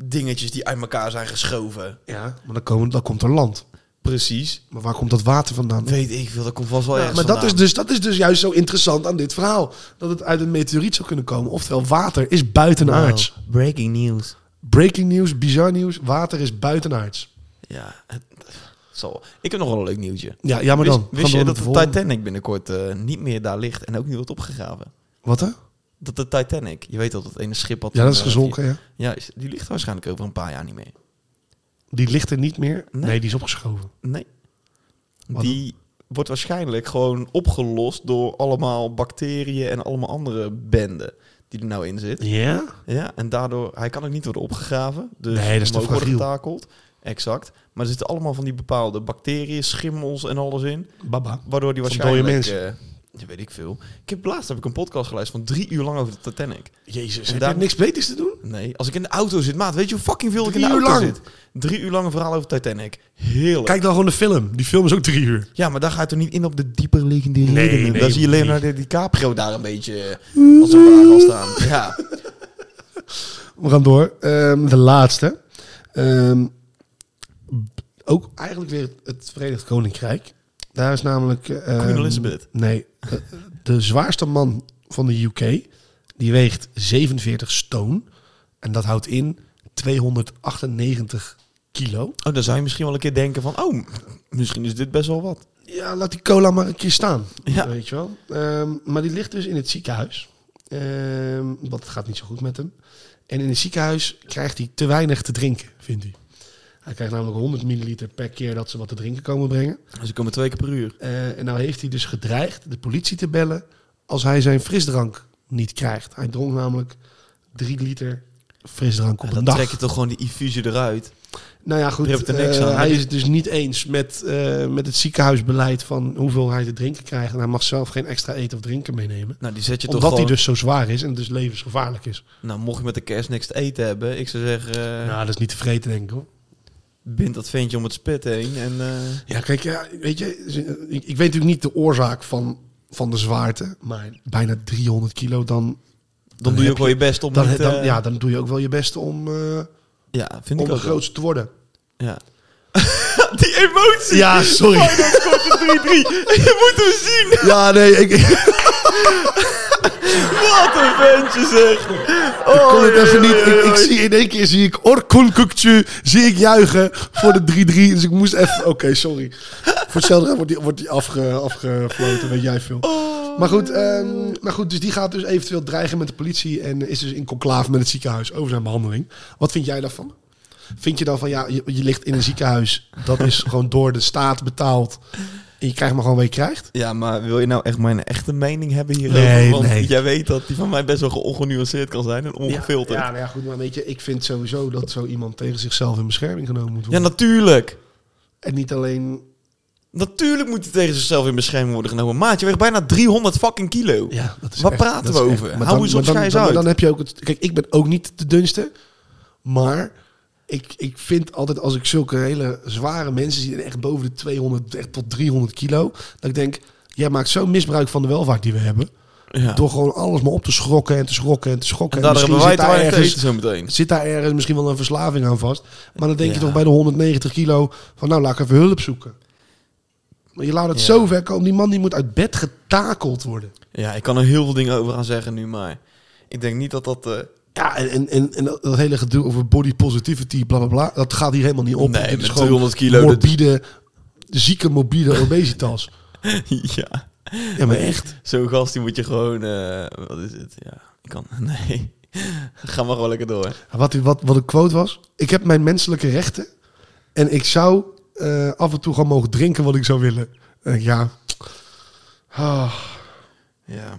aarddingetjes die uit elkaar zijn geschoven. Ja, maar dan, komen, dan komt er land. Precies. Maar waar komt dat water vandaan? Weet ik veel, dat komt vast wel Ja, ergens maar dat is, vandaan. dus, dat is dus juist zo interessant aan dit verhaal. Dat het uit een meteoriet zou kunnen komen. Oftewel, water is buitenaards. Wow, Breaking news. Breaking nieuws, bizar nieuws. Water is buitenaards. Ja, het, zal. Ik heb nog wel een leuk nieuwtje. Ja, ja maar Wist- dan. Gaan Wist, we je naar dat de de volgende. Titanic binnenkort eh, niet meer daar ligt en ook niet wordt opgegraven? Wat hè? Dat de Titanic, je weet dat het ene schip had... Ja, dat is eh, gezonken, ja. die- Ja, is- die ligt waarschijnlijk over een paar jaar niet meer. Die ligt er niet meer. Nee. Nee, die is opgeschoven. Nee. Wat die wordt waarschijnlijk gewoon opgelost door allemaal bacteriën en allemaal andere benden die er nou in zit. Ja? Ja, en daardoor, hij kan ook niet worden opgegraven. Dus Nee, dat is hem te ook worden fragiel. getakeld. Exact. Maar er zitten allemaal van die bepaalde bacteriën, schimmels en alles in. Baba. Waardoor die Van waarschijnlijk... dode eh, dat weet ik veel. Ik heb, laatst heb ik een podcast geluisterd van drie uur lang over de Titanic. Jezus, En heb daar- je niks beters te doen? Nee, als ik in de auto zit, maat, weet je hoe fucking veel ik in de Drie uur auto lang? zit? Drie uur lang een verhaal over Titanic. Heerlijk. Kijk dan gewoon de film. Die film is ook drie uur. Ja, maar daar gaat er niet in op de dieperliggende Nee, redenen. nee, daar zie je nee. Leonardo DiCaprio daar een beetje eh, als een wagen al staan. Ja. We gaan door. Ehm, de laatste. Ehm, b- ook eigenlijk weer het Verenigd Koninkrijk. Daar is namelijk... eh, ehm, Elizabeth. Nee. eh, de zwaarste man van de UK. Die weegt 47 stone. En dat houdt in 298 kilo. Oh, dan zou je misschien wel een keer denken van, oh, misschien is dit best wel wat. Ja, laat die cola maar een keer staan. Ja. Weet je wel. Ehm, maar die ligt dus in het ziekenhuis. Ehm, want het gaat niet zo goed met hem. En in het ziekenhuis krijgt hij te weinig te drinken, vindt hij. Hij krijgt namelijk 100 milliliter per keer dat ze wat te drinken komen brengen. Ze komen twee keer per uur. Eh, en nou heeft hij dus gedreigd de politie te bellen als hij zijn frisdrank niet krijgt. Hij dronk namelijk 3 liter frisdrank op dan een dag. trek je toch gewoon die infusie eruit. Nou ja, goed. Je hebt er niks eh, aan. hij is het dus niet eens met, eh, met het ziekenhuisbeleid van hoeveel hij te drinken krijgt. En hij mag zelf geen extra eten of drinken meenemen. Nou, die zet je Omdat toch hij gewoon... dus zo zwaar is en dus levensgevaarlijk is. Nou, mocht je met de kerst niks te eten hebben, ik zou zeggen, eh, Nou, dat is niet te vreten, denk ik hoor. bind dat ventje om het spit heen en... eh, Ja, kijk, ja, weet je, z- ik, ik weet natuurlijk niet de oorzaak van van de zwaarte, maar bijna 300 kilo, dan, Dan doe je heb ook wel je best om dan, niet, dan, eh, ja, dan doe je ook wel je best om, eh ja, vind om ik de ook wel. grootste te worden. Ja. Die emotie! Ja, sorry. Feyenoord scoort de 3-3. Je moet hem zien! Ja, nee, ik, ik Wat een ventje zeg! Oh, kon het jee, even jee, niet. Ik, jee, ik zie in één keer zie ik Orkun Kukcu, zie ik juichen voor de 3-3. Dus ik moest even... Oké, sorry. Voor hetzelfde wordt die, wordt die afge, afgefloten, weet jij veel. Maar goed, ehm, maar goed, dus die gaat dus eventueel dreigen met de politie en is dus in conclave met het ziekenhuis over zijn behandeling. Wat vind jij daarvan? Vind je dan van, ja, je, je ligt in een ziekenhuis, dat is gewoon door de staat betaald en je krijgt maar gewoon wat je krijgt? Ja, maar wil je nou echt mijn echte mening hebben hierover? Nee, Want nee. jij weet dat die van mij best wel ongenuanceerd kan zijn en ongefilterd. Ja, Ja, nou ja, goed, maar weet je, ik vind sowieso dat zo iemand tegen zichzelf in bescherming genomen moet worden. natuurlijk! en niet alleen... Natuurlijk moet hij tegen zichzelf in bescherming worden genomen. Maat, je weegt bijna 300 fucking kilo. Ja, dat is Waar echt- praten dat we is echt- over? maar Hou dan- eens maar op, dan- schei eens dan- uit. Dan heb je ook het... Kijk, ik ben ook niet de dunste, maar ik, ik vind altijd als ik zulke hele zware mensen zie, echt boven de 200 echt tot 300 kilo, dat ik denk, jij maakt zo'n misbruik van de welvaart die we hebben, Ja. door gewoon alles maar op te schrokken en te schrokken en te En schrokken. daardoor eh, misschien hebben wij zit te daar weinig te ergens- eten zo meteen. Zit daar ergens misschien wel een verslaving aan vast. Maar dan denk je Ja. toch bij de 190 kilo van nou laat ik even hulp zoeken. Maar je laat het Ja. zo ver komen. Die man die moet uit bed getakeld worden. Ja, ik kan er heel veel dingen over gaan zeggen nu, maar ik denk niet dat dat... eh, Ja, en, en, en, en dat dat hele gedoe over body positivity, bla bla bla, dat gaat hier helemaal niet op. Nee, Dit met 200 kilo, dat- Morbide, zieke morbide obesitas. ja, ja, maar echt. zo'n gast die moet je gewoon... eh, wat is het? Ja, ik kan... Nee. Ga maar gewoon lekker door. Wat, wat, wat een quote was. Ik heb mijn menselijke rechten en ik zou eh, af en toe gewoon mogen drinken wat ik zou willen. En ja. Ah. Ja,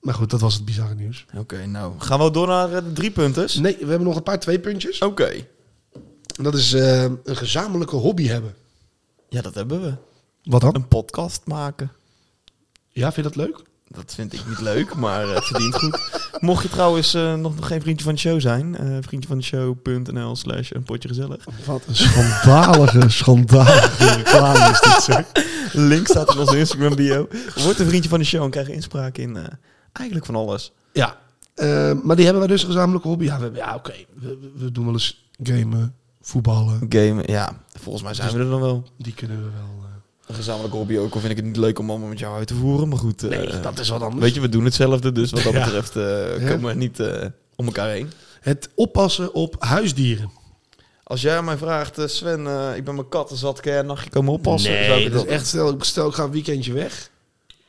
Maar goed, dat was het bizarre nieuws. oké, nou. Gaan we door naar eh, de drie punters? Nee, we hebben nog een paar tweepuntjes. Oké. En Dat is eh, een gezamenlijke hobby hebben. Ja, dat hebben we. Wat dan? Een podcast maken. Ja, vind je dat leuk? Dat vind ik niet leuk, maar eh, het verdient goed. Mocht je trouwens eh, nog, nog geen vriendje van de show zijn, eh vriendjevan-de-show.nl slash een potje gezellig. Wat een schandalige, schandalige reclame is dit, zeg. Link staat in onze Instagram bio. Word een vriendje van de show en krijg inspraak in eh, eigenlijk van alles. Ja. Eh, maar die hebben wij dus een gezamenlijke hobby. Ja, we hebben- ja oké. We, we- we doen wel eens gamen, voetballen. Gamen, ja, volgens mij zijn we er dan wel. Die kunnen we wel... eh, Dus Een gezamenlijke hobby ook, al vind ik het niet leuk om allemaal met jou uit te voeren, maar goed. eh, nee, dat is wat anders. Weet je, we doen hetzelfde, dus wat dat Ja. betreft eh, Ja. komen we niet eh, om elkaar heen. Het oppassen op huisdieren. Als jij aan mij vraagt, eh, Sven, eh, ik ben mijn kat, dus wat kan jij een nachtje komen oppassen? Zou ik het dat is wel- echt... Stel, ik- stel, ik ga een weekendje weg.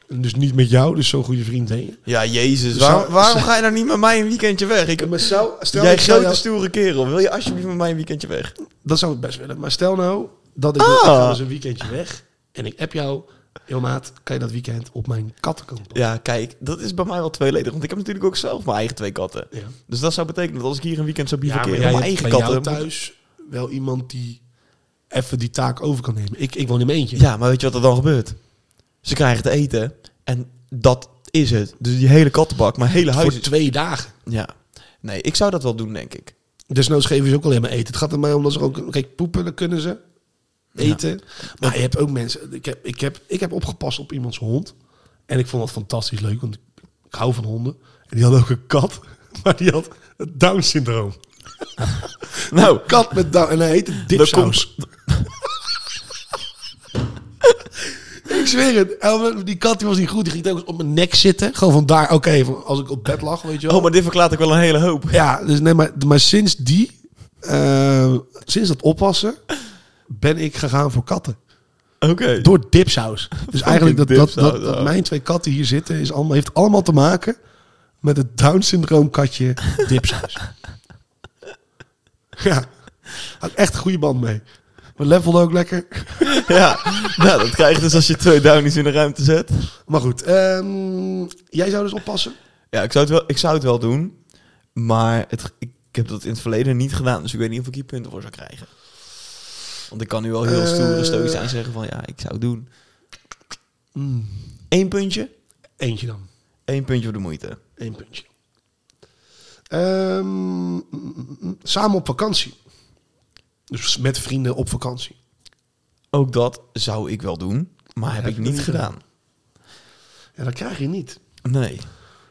En Dus niet met jou, dus zo'n goede vriend heen. Ja, jezus. Zou- Waarom, waarom ga je nou niet met mij een weekendje weg? Ik, Maar zou... Stel, jij ik zou dus- grote jou- stoere kerel, wil je alsjeblieft met mij een weekendje weg? Dat zou ik best willen. Maar stel nou dat ik, Ah. ik ga dus een weekendje weg. En ik app jou. Yo maat, kan je dat weekend op mijn katten komen? passen? Ja, kijk, dat is bij mij wel tweeledig, want ik heb natuurlijk ook zelf mijn eigen twee katten. Ja. Dus dat zou betekenen dat als ik hier een weekend zou bivakeren, jij mijn hebt eigen eh, bij jou katten... thuis wel iemand die even die taak over kan nemen. Ik, ik woon in mijn eentje. Ja, maar weet je wat er dan gebeurt? Ze krijgen te eten en dat is het. Dus die hele kattenbak, mijn hele Voor huis... is- twee dagen. Ja. Nee, ik zou dat wel doen, denk ik. Desnoods geven ze ook alleen maar eten. Het gaat er mij om dat ze ook... Kijk, poepen, dan kunnen ze. Eten. Maar je hebt ook mensen... Ik heb, ik, heb, ik heb opgepast op iemands hond. En ik vond dat fantastisch leuk, want ik, ik hou van honden. En die had ook een kat, maar die had het Down-syndroom. Nou, kat met Down. En hij heette Dipsaus. ik zweer het. Elmer, Die kat die was niet goed. Die ging telkens op mijn nek zitten. Gewoon vandaar, oké, van als ik op bed lag, weet je wel. oh, maar dit verklaart ook wel een hele hoop. Ja, dus nee, maar, maar sinds die, eh, sinds dat oppassen, ben ik gegaan voor katten. Oké. Door dipsaus. Dus eigenlijk dat, dat, dipsaus, dat, dat oh. mijn twee katten hier zitten, is allemaal, heeft allemaal te maken met het Down-syndroom katje dipsaus. ja, had echt een goede band mee. We levelden ook lekker. Ja, nou, dat krijg je dus als je twee downies in de ruimte zet. Maar goed, ehm, jij zou dus oppassen? Ja, ik zou het wel, ik zou het wel doen. Maar het, ik heb dat in het verleden niet gedaan. Dus ik weet niet of ik hier punten voor zou krijgen. Want ik kan nu wel heel stoer Eh. stoer zijn zeggen van ja, ik zou het doen. Mm. Eén puntje. Eentje dan. Eén puntje voor de moeite. Eén puntje. Ehm, mm, mm, mm, samen op vakantie. Dus met vrienden op vakantie. Ook dat zou ik wel doen. Maar heb heb ik je nog niet niet gedaan. Ja, dat krijg je niet. Nee.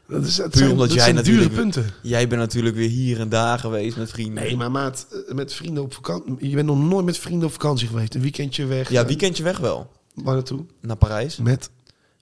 Dat is het Puur zijn, omdat dat jij zijn dure natuurlijk- punten. Jij bent natuurlijk weer hier en daar geweest met vrienden. Nee, maar maat, eh, met vrienden op vakantie. Je bent nog nooit met vrienden op vakantie geweest. Een weekendje weg. Ja, eh, weekendje weg wel. Waar naartoe? Naar Parijs. Met,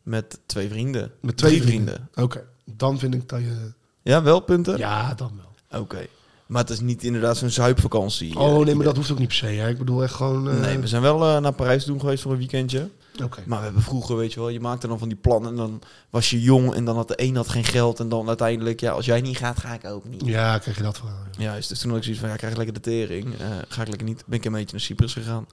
Met twee vrienden. met twee Drie vrienden. Oké, dan vind ik dat je. Ja, wel punten? Ja, dan wel. Oké. Maar het is niet inderdaad zo'n zuipvakantie. eh. Oh nee, maar dat hoeft ook niet per se. Hè. Ik bedoel echt gewoon. eh, Nee, we zijn wel eh, naar Parijs doen geweest voor een weekendje. Oké. Maar we hebben vroeger, weet je wel, je maakte dan van die plannen. En dan was je jong en dan had de een had geen geld. En dan uiteindelijk, ja, als jij niet gaat, ga ik ook niet. Ja, krijg je dat verhaal. ja. Juist, dus toen had ik zoiets van, ja, ik krijg lekker de tering. Eh, ga ik lekker niet. Ben ik een beetje naar Cyprus gegaan.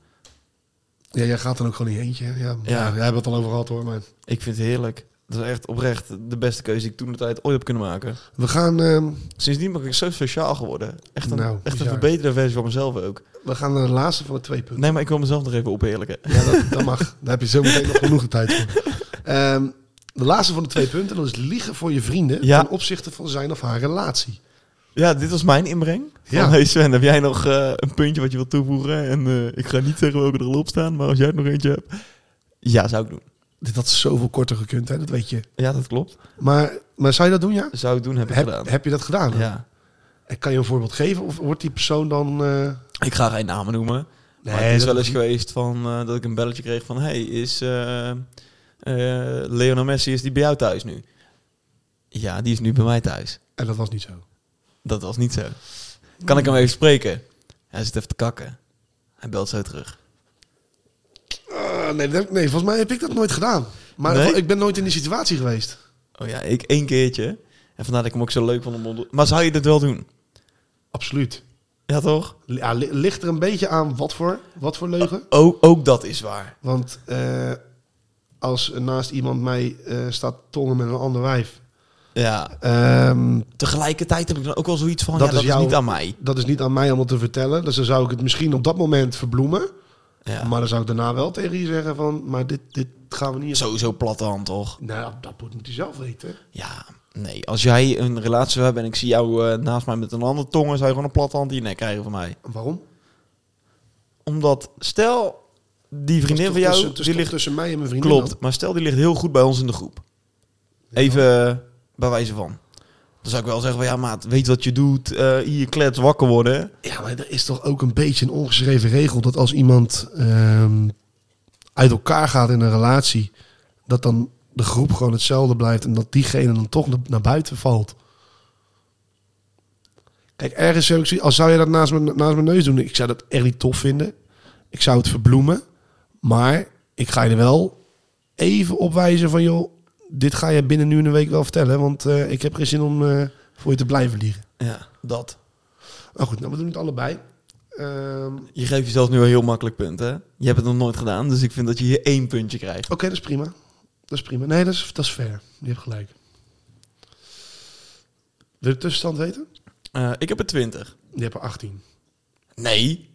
Ja, jij gaat dan ook gewoon niet eentje. hè. Ja, ja. jij hebt het al over gehad hoor. Maar Ik vind het heerlijk. Dat is echt oprecht de beste keuze die ik toen de tijd ooit heb kunnen maken. we gaan, ehm, Sindsdien ben ik zo sociaal geworden. Echt een, Nou, echt een bizar. verbeterde versie van mezelf ook. we gaan naar de laatste van de twee punten. Nee, maar ik wil mezelf nog even opheerlijken. Ja, dat, dat mag. Daar heb je zo meteen nog genoeg de tijd voor. Ehm, de laatste van de twee punten, dat is liegen voor je vrienden Ja. ten opzichte van zijn of haar relatie. Ja, dit was mijn inbreng. Van, Ja. hey Sven, heb jij nog eh, een puntje wat je wilt toevoegen? En eh, ik ga niet zeggen welke er al op staan, maar als jij er nog eentje hebt... Ja, zou ik doen. Dit had zoveel korter gekund, hè? dat weet je. Ja, dat klopt. Maar, maar zou je dat doen, ja? Zou ik doen, heb ik Heb, gedaan. heb je dat gedaan? ja. En kan je een voorbeeld geven? Of wordt die persoon dan... eh, Ik ga geen namen noemen. Nee, maar het is dat wel eens is- geweest van, eh, dat ik een belletje kreeg van... Hey, is eh eh, Lionel Messi is die bij jou thuis nu? Ja, die is nu bij mij thuis. En dat was niet zo. Dat was niet zo. Kan ik hem even spreken? Hij zit even te kakken. Hij belt zo terug. Ah, nee, dat heb ik- nee, volgens mij heb ik dat nooit gedaan. Maar Nee? ik ben nooit in die situatie geweest. Oh ja, ik één keertje. En vandaar dat ik hem ook zo leuk vond om onder... Maar zou je dit wel doen? Absoluut. Ja, toch? Ja, li- ligt er een beetje aan wat voor, wat voor leugen. Ook, ook dat is waar. Want eh, als naast iemand mij eh, staat tongen met een ander wijf... Ja. ehm, Tegelijkertijd heb ik dan ook wel zoiets van... Dat ja, dat is jouw- is niet aan mij. dat is niet aan mij om het te vertellen. Dus dan zou ik het misschien op dat moment verbloemen. Ja. Maar dan zou ik daarna wel tegen je zeggen van... Maar dit, dit gaan we niet... Sowieso platte hand, toch? Nou, dat moet hij zelf weten. Ja, nee. Als jij een relatie zou hebben en ik zie jou eh, naast mij met een andere tongen... zou je gewoon een platte hand in je nek krijgen van mij. Waarom? Omdat, stel, die vriendin van jou... Tussen, tussen, die ligt, tussen mij en mijn vriendin. klopt, maar stel die ligt heel goed bij ons in de groep. Even eh, bij wijze van. Dan zou ik wel zeggen van... Ja, maat, weet wat je doet. eh, hier, klets, wakker worden. Ja, maar er is toch ook een beetje een ongeschreven regel dat als iemand ehm, uit elkaar gaat in een relatie, dat dan de groep gewoon hetzelfde blijft en dat diegene dan toch na- naar buiten valt. Kijk, ergens heb ik zoiets, als zou je dat naast mijn, naast mijn neus doen, ik zou dat echt niet tof vinden. Ik zou het verbloemen, maar ik ga je er wel even op wijzen van, joh, dit ga je binnen nu en een week wel vertellen, want eh, ik heb geen zin om eh, voor je te blijven liegen. Ja, dat. Maar goed, nou, we doen het allebei. Ehm, Je geeft jezelf nu een heel makkelijk punt, hè? Je hebt het nog nooit gedaan, dus ik vind dat je hier één puntje krijgt. Oké, dat is prima. Dat is prima. Nee, dat is, dat is fair. Je hebt gelijk. Wil je de tussenstand weten? Eh, ik heb er 20. Je hebt er 18. Nee,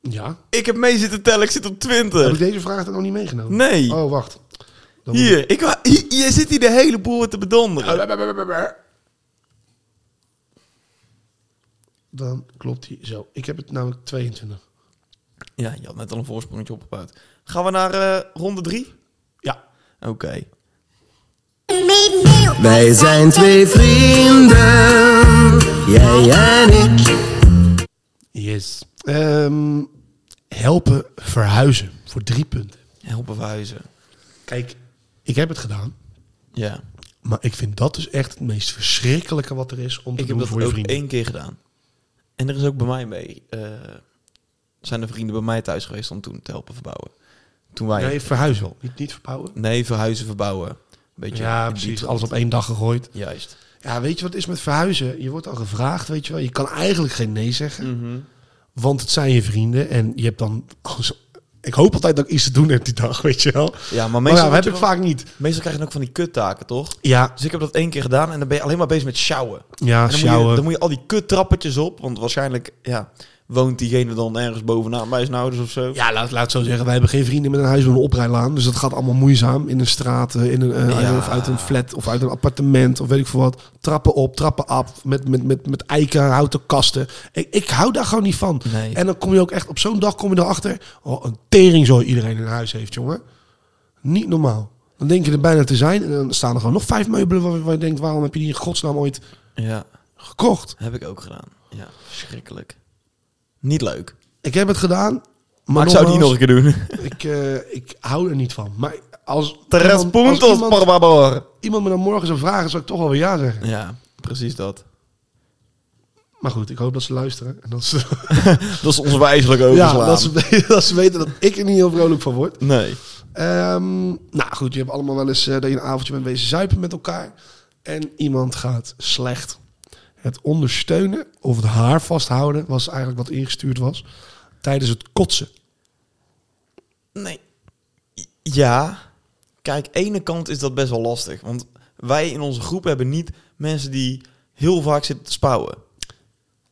Ja. ik heb mee zitten tellen, ik zit op Heb ik 20. deze vraag dan nog niet meegenomen? Nee, Oh, wacht. Dan moet hier, ik, wa- hier, je zit hier de hele boel weer te bedonderen. ik- Dan klopt hij zo. Ik heb het namelijk 22. Ja, je had net al een voorsprongetje opgebouwd. Gaan we naar eh, ronde 3? Ja. Oké. Wij zijn twee vrienden, jij en ik. Yes. Ehm, helpen verhuizen voor drie punten. Helpen verhuizen. Kijk, ik heb het gedaan. Ja, Maar ik vind dat dus echt het meest verschrikkelijke wat er is om te ik heb doen dat voor je ook vrienden. één keer gedaan. En er is ook bij mij mee. eh, zijn er vrienden bij mij thuis geweest om toen te helpen verbouwen? Toen wij... Nee, verhuis wel. Niet, niet verbouwen. Nee, verhuizen, verbouwen. Een beetje Ja, in die precies. trant. Alles op één dag gegooid. Juist. Ja, weet je wat het is met verhuizen? Je wordt al gevraagd, weet je wel. Je kan eigenlijk geen nee zeggen. Mhm. Want het zijn je vrienden en je hebt dan... Ik hoop altijd dat ik iets te doen heb die dag, weet je wel. Ja, maar Maar meestal, ja, dat word heb je ik wel- vaak niet. meestal krijg je ook van die kuttaken, toch? Ja, Dus ik heb dat één keer gedaan en dan ben je alleen maar bezig met sjouwen. En ja, dan, Moet je, Ah, sjouwen. dan moet je al die kuttrappetjes op, want waarschijnlijk ja, woont diegene dan ergens bovenaan bij zijn ouders of zo. Ja, laat, laat het zo zeggen. Wij hebben geen vrienden met een huis met een oprijlaan. Dus dat gaat allemaal moeizaam. In een straat, eh, in een, eh, Ja. of uit een flat, of uit een appartement, of weet ik veel wat. Trappen op, trappen af, met, met, met, met eiken, houten kasten. Ik, ik hou daar gewoon niet van. Nee. En dan kom je ook echt, op zo'n dag kom je erachter... Oh, een tering zo iedereen in huis heeft, jongen. Niet normaal. Dan denk je er bijna te zijn. En dan staan er gewoon nog vijf meubelen waar, waar je denkt, waarom heb je die in godsnaam ooit Ja, gekocht? heb ik ook gedaan. Ja, verschrikkelijk. Niet leuk. Maar, Ik heb het gedaan. Maar, ik zou het niet nog een keer doen. Ik, eh, ik hou er niet van. Maar als, Tres iemand- als puntos, iemand, por favor. iemand me dan morgen zou vragen, zou ik toch wel weer ja zeggen. Ja, precies dat. Maar goed, ik hoop dat ze luisteren. En dat ze, Dat is ons wijselijk overslaan. ja, dat, ze, dat ze weten dat ik er niet heel vrolijk van word. Nee. Ehm, nou goed, je hebt allemaal wel eens eh, dat je een avondje bent wezen zuipen met elkaar. En iemand gaat slecht. Het ondersteunen of het haar vasthouden was eigenlijk wat ingestuurd was. Tijdens het kotsen. Nee. Ja. Kijk, ene kant is dat best wel lastig. Want wij in onze groep hebben niet mensen die heel vaak zitten te spouwen.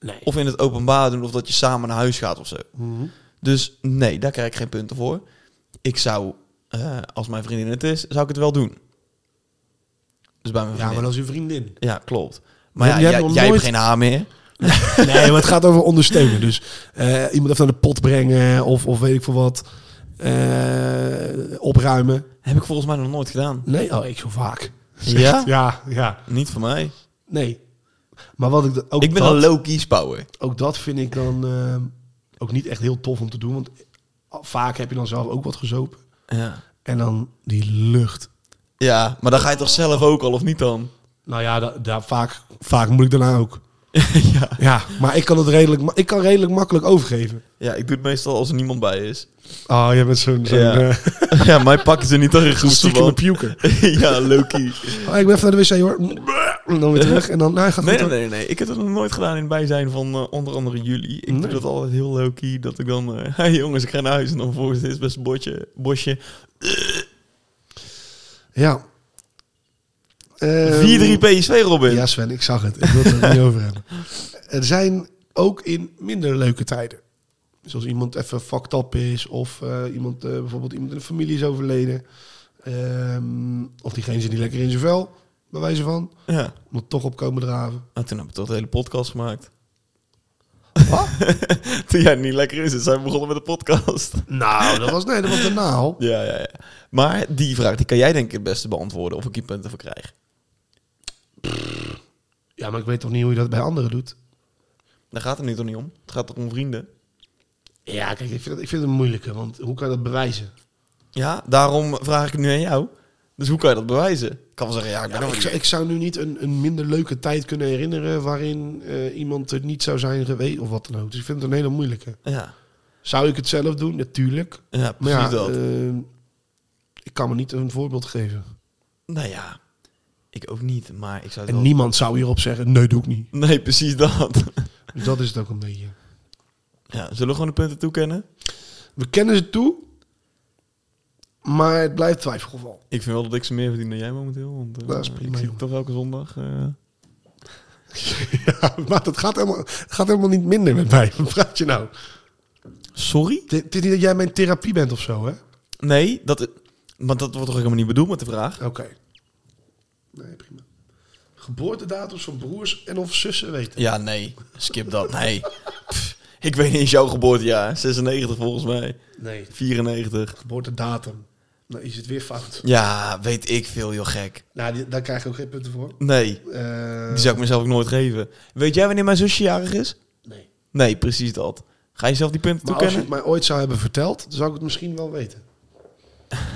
Nee. Mhm. Of in het openbaar doen, of dat je samen naar huis gaat of zo. Dus nee, daar krijg ik geen punten voor. Ik zou, eh, als mijn vriendin het is, zou ik het wel doen. Dus bij mijn Ja, vriendin. maar dat is je vriendin. Ja, klopt. Maar Je ja, hebt jij, nog jij hebt nooit- geen haar meer. Nee, maar het gaat over ondersteunen. Dus eh, iemand even naar de pot brengen of, of weet ik veel wat. Eh, opruimen. Heb ik volgens mij nog nooit gedaan. Nee, oh, ik zo vaak. Ja? Ja, ja. Niet voor mij. Nee. Maar wat ik da- ook ik ben dat, een low-key spouwer. ook dat vind ik dan ehm, ook niet echt heel tof om te doen. Want vaak heb je dan zelf ook wat gezopen. Ja. En dan die lucht. ja, maar dan ga je toch zelf ook al, of niet dan? Nou ja, da- daar vaak, vaak moet ik daarna ook. ja. Ja, maar ik kan het redelijk, ma- ik kan redelijk makkelijk overgeven. ja, ik doe het meestal als er niemand bij is. Oh, jij bent zo'n zo'n Ja. eh, ja, mij pakken ze niet terug. stiekeme puker. ja, low-key. Oh, ik ben even naar de wc hoor. En dan weer terug. En dan, nou, hij gaat Nee, goed, nee, nee, nee. Ik heb dat nog nooit gedaan in het bijzijn van eh, onder andere jullie. Ik doe Nee. dat altijd heel low-key. Dat ik dan... eh, hey jongens, ik ga naar huis. En dan volgens het is best een bosje. bosje. 4-3 hoor. Ja. Ehm, PSV, Robin. Ja, Sven, ik zag het. Ik wil het er niet over hebben. Er zijn ook in minder leuke tijden. Dus als iemand even fucked up is, of eh, iemand, eh, bijvoorbeeld iemand in de familie is overleden. ehm, of diegene zit niet lekker in zijn vel, bij wijze van. Ja. Moet toch op komen draven. Nou, toen heb ik toch de hele podcast gemaakt. Wat? Toen jij niet lekker in zit, zijn we begonnen met de podcast. nou, dat was, nee, dat was daarna al. Ja, ja, ja. Maar die vraag die kan jij denk ik het beste beantwoorden of ik hier punten voor krijg. Ja, maar ik weet toch niet hoe je dat bij anderen doet? Daar gaat het nu toch niet om? Het gaat toch om vrienden? Ja, kijk, ik vind, dat, ik vind het moeilijker, want hoe kan je dat bewijzen? Ja, daarom vraag ik het nu aan jou. Dus hoe kan je dat bewijzen? Ik kan wel zeggen, ja, ik Ja, ben maar ook ik, zou- ik zou nu niet een, een minder leuke tijd kunnen herinneren waarin eh, iemand er niet zou zijn geweest of wat dan ook. Dus ik vind het een hele moeilijke. Ja, Zou ik het zelf doen? Natuurlijk. ja Maar precies ja, dat. eh, ik kan me niet een voorbeeld geven. nou ja, ik ook niet, maar ik zou het En wel- niemand zou hierop zeggen, nee, doe ik niet. Nee, precies dat. Dus dat is het ook een beetje. ja, zullen we gewoon de punten toekennen? We kennen ze toe, maar het blijft twijfelgeval. Ik vind wel dat ik ze meer verdien dan jij momenteel. Want eh, Dat is prima, ik zie het joh. toch elke zondag. eh. Ja, maar dat gaat helemaal, het gaat helemaal niet minder met mij. Wat praat je nou? Sorry? Het het is niet dat jij mijn therapie bent of zo, hè? Nee, dat, maar dat wordt toch helemaal niet bedoeld met de vraag? Oké. Nee, prima. Geboortedatums van broers en of zussen weten. Ja, nee. Skip dat. Nee. Pff, ik weet niet eens jouw geboortejaar. 96 volgens mij. Nee. 94. Geboortedatum. Nou, is het weer fout. Ja, weet ik veel, joh gek. Nou, die- daar krijg je ook geen punten voor. Nee, Eh, die zou ik mezelf ook nooit geven. Weet jij wanneer mijn zusje jarig is? Nee. Nee, precies dat. Ga je zelf die punten Maar als je toekennen? het mij ooit zou hebben verteld, dan zou ik het misschien wel weten.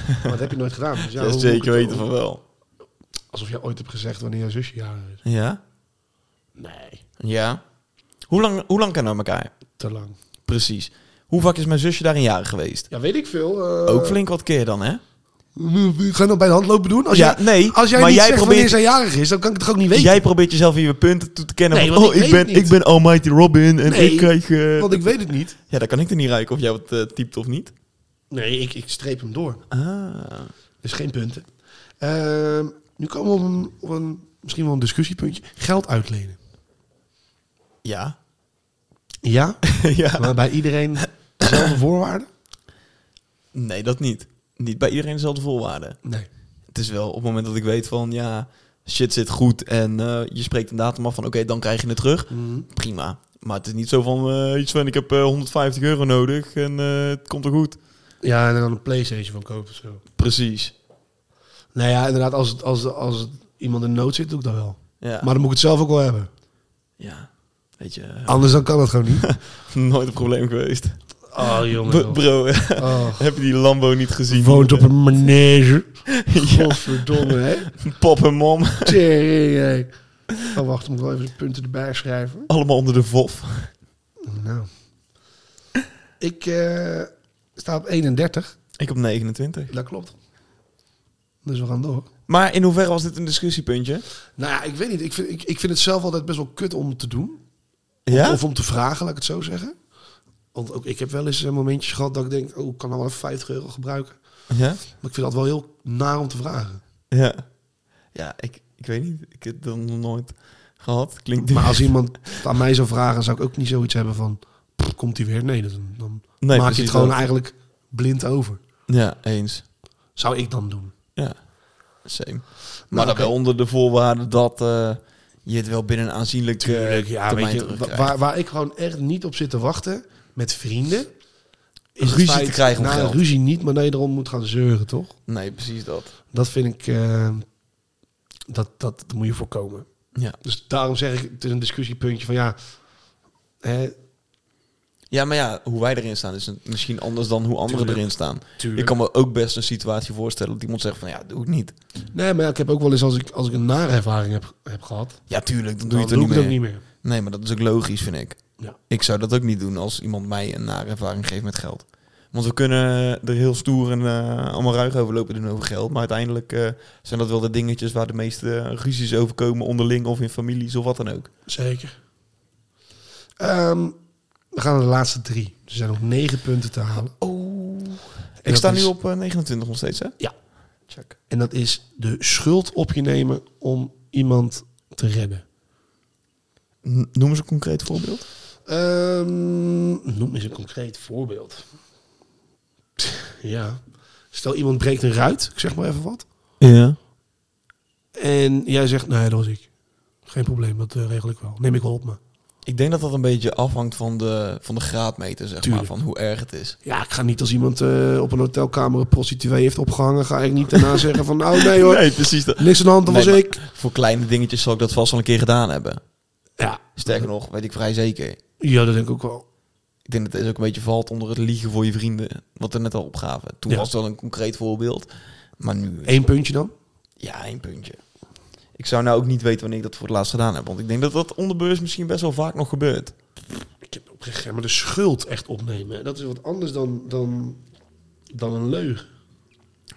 maar dat heb je nooit gedaan. Dus ja, Ja, hoe moet ik zeker het- weten van wel. Alsof jij ooit hebt gezegd wanneer jouw zusje jarig is. Ja? Nee. Ja. Hoe lang, hoe lang kennen we elkaar? Te lang. Precies. Hoe vaak is mijn zusje daarin jarig geweest? Ja, weet ik veel. eh, Ook flink wat keer dan, hè? Ga je dat bij de hand lopen doen? Als Ja, jij, nee, Als jij maar niet jij zegt probeert- wanneer zij jarig is, dan kan ik het toch ook niet weten? Dus Jij probeert jezelf in je punten toe te kennen. Nee, van, want oh, ik ik, weet ben, het niet. ik ben Almighty Robin en Nee, ik krijg... eh, Want ik weet het niet. Ja, dan kan ik er niet ruiken of jij wat eh, typt of niet. Nee, ik, ik streep hem door. Ah. Dus geen punten. Ehm, nu komen we op een, op een misschien wel een discussiepuntje. Geld uitlenen. Ja. Ja, ja. maar bij iedereen dezelfde voorwaarden? Nee, dat niet. Niet bij iedereen dezelfde voorwaarden. Nee. Het is wel op het moment dat ik weet van, ja, shit zit goed en eh, je spreekt een datum af van, oké, dan krijg je het terug. Mm. Mm-hmm. Prima. Maar het is niet zo van, eh, iets van, ik heb eh, 150 euro nodig en eh, het komt er goed. Ja, en dan een Playstation van kopen of zo. Precies. Nou ja, inderdaad, als, het- als, als het iemand in nood zit, doe ik dat wel. Ja. Maar dan moet ik het zelf ook wel hebben. ja. Weet je, eh, Anders dan kan het gewoon niet. nooit een probleem geweest. Oh, B- bro, Oh. heb je die Lambo niet gezien? Woont op een manege. Godverdomme, hè? Pop en mom, Tering, hé. Oh, wacht, moet ik wel even de punten erbij schrijven. allemaal onder de vof. Nou. Ik eh, sta op 31. Ik op 29. Dat klopt. Dus we gaan door. Maar in hoeverre was dit een discussiepuntje? Nou ja, ik weet niet. Ik vind, ik, ik vind het zelf altijd best wel kut om te doen. Ja? Of om te vragen, laat ik het zo zeggen. Want ook ik heb wel eens eh, momentjes gehad dat ik denk, oh, ik kan nou wel even 50 euro gebruiken. Ja? Maar ik vind dat wel heel naar om te vragen. Ja. Ja, ik, ik weet niet. Ik heb dat nog nooit gehad. Klinkt Maar als iemand het aan mij zou vragen, zou ik ook niet zoiets hebben van, "Pff, komt hij weer? Nee, dan, dan Nee, maak je precies het gewoon dat. eigenlijk blind over. Ja, eens. Zou ik dan doen. Ja, same. Maar Nou, dan wel oké. onder de voorwaarde dat eh, je het wel binnen een aanzienlijk eh, ja, termijn weet je, wa- terugkrijgt. waar, waar ik gewoon echt niet op zit te wachten met vrienden. het Ruzie te krijgen om nou, geld. ruzie niet, maar dat je erom moet gaan zeuren, toch? Nee, precies dat. Dat vind ik, eh, dat, dat, dat moet je voorkomen. Ja. Dus daarom zeg ik, het is een discussiepuntje van ja, hè, ja, maar ja, hoe wij erin staan is een- misschien anders dan hoe anderen Tuurlijk. erin staan. Tuurlijk. Ik kan me ook best een situatie voorstellen dat iemand zegt van ja, doe ik niet. nee, maar ja, ik heb ook wel eens als ik, als ik een nare ervaring heb, heb gehad, Ja, tuurlijk, dan doe dan je het er niet ik meer. het ook niet meer. Nee, maar dat is ook logisch, vind ik. Ja. Ik zou dat ook niet doen als iemand mij een nare ervaring geeft met geld. Want we kunnen er heel stoer en eh, allemaal ruig over lopen doen over geld. Maar uiteindelijk eh, zijn dat wel de dingetjes waar de meeste eh, ruzies over komen onderling of in families of wat dan ook. Zeker. Ehm, we gaan naar de laatste drie. Er zijn nog negen punten te halen. Oh. En Ik dat sta nu is- op eh, 29 nog steeds, hè? Ja. Check. En dat is de schuld op je nemen om iemand te redden. N- Noem eens een concreet voorbeeld. Ehm, noem eens een concreet voorbeeld. Ja. Stel iemand breekt een ruit, ik zeg maar even wat. Ja. En jij zegt, nee, dat was ik. Geen probleem, dat eh, regel ik wel. Neem ik wel op me. Ik denk dat dat een beetje afhangt van de, van de graadmeter, zeg Tuurlijk. maar. Van hoe erg het is. Ja, ik ga niet als iemand eh, op een hotelkamer een prostituee heeft opgehangen, ga ik niet daarna zeggen van, nou nee hoor, precies. Dat. niks aan de hand, dat Nee, was maar ik. Voor kleine dingetjes zal ik dat vast al een keer gedaan hebben. Ja, Sterker nog, weet ik vrij zeker. ja, dat denk ik ook wel. Ik denk dat het ook een beetje valt onder het liegen voor je vrienden. Wat we net al opgaven. Toen Ja. was het wel een concreet voorbeeld. Maar nu... Eén puntje dan? Ja, één puntje. Ik zou nou ook niet weten wanneer ik dat voor het laatst gedaan heb. Want ik denk dat dat onderbeurs misschien best wel vaak nog gebeurt. Ik heb oprecht, ja, maar de schuld echt opnemen, dat is wat anders dan, dan, dan een leugen.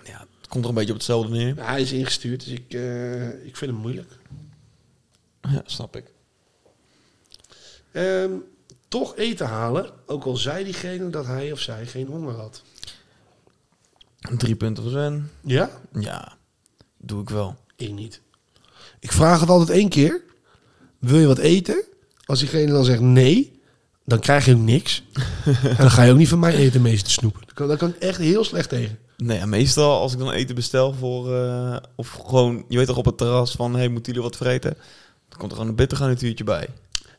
Ja, het komt er een beetje op hetzelfde neer. Ja, Hij is ingestuurd, dus ik, eh, ik vind hem moeilijk. Ja, snap ik. Ehm, toch eten halen, ook al zei diegene dat hij of zij geen honger had. Drie punten voor Sven. Ja? Ja, doe ik wel. Ik niet. Ik vraag het altijd één keer. Wil je wat eten? Als diegene dan zegt nee, dan krijg je ook niks. en dan ga je ook niet van mij eten meester te snoepen. Daar kan, daar kan ik echt heel slecht tegen. Nee, ja, meestal als ik dan eten bestel voor... eh, of gewoon, je weet toch op het terras van... Hé, hey, moeten jullie wat vreten? Dan komt er gewoon een bittergarnituurtje bij.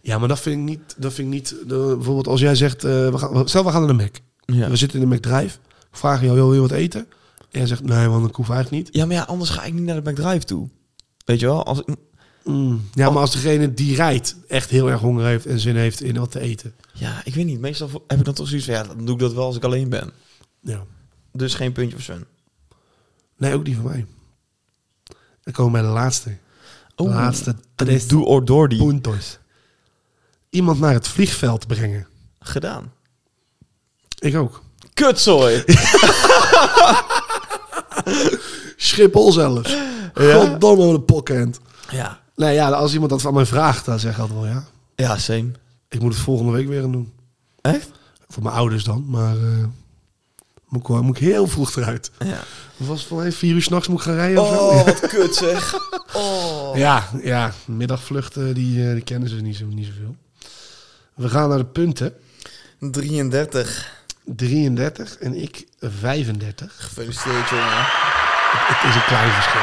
Ja, maar dat vind ik niet... Dat vind ik niet eh, bijvoorbeeld als jij zegt... eh, we gaan, stel, we gaan naar de Mac. Ja. We zitten in de Mac Drive. Ik Vraag jou, wil je wat eten? En jij zegt, nee, want ik hoef eigenlijk niet. ja, maar ja, anders ga ik niet naar de McDrive toe. Weet je wel? Als ik, Mm. Ja, maar als degene die rijdt echt heel erg honger heeft en zin heeft in wat te eten. Ja, ik weet niet. Meestal vo- heb ik dan toch zoiets van, ja, dan doe ik dat wel als ik alleen ben. Ja. Dus geen puntje voor Sven. Nee, ook die van mij. Dan komen we bij de laatste. De Oh, laatste een tres doe or door die. puntos. Iemand naar het vliegveld brengen. Gedaan. Ik ook. Kutzooi. Schiphol zelfs. Goddomme, wat een pokkend. ja. Nou ja, als iemand dat van mij vraagt, dan zeg ik altijd wel ja. Ja, same. Ik moet het volgende week weer gaan doen. Echt? Voor mijn ouders dan, maar... eh, moet, ik, wel- moet ik heel vroeg eruit. Ja. Het was van hey, vier uur s'nachts moet ik gaan rijden of zo. Oh, wat kut zeg. Oh. Ja, ja, middagvluchten, die, eh, die kennen ze niet, zo, niet zoveel. We gaan naar de punten. 33. 33 en ik 35. Gefeliciteerd, jongen. Het is een klein verschil.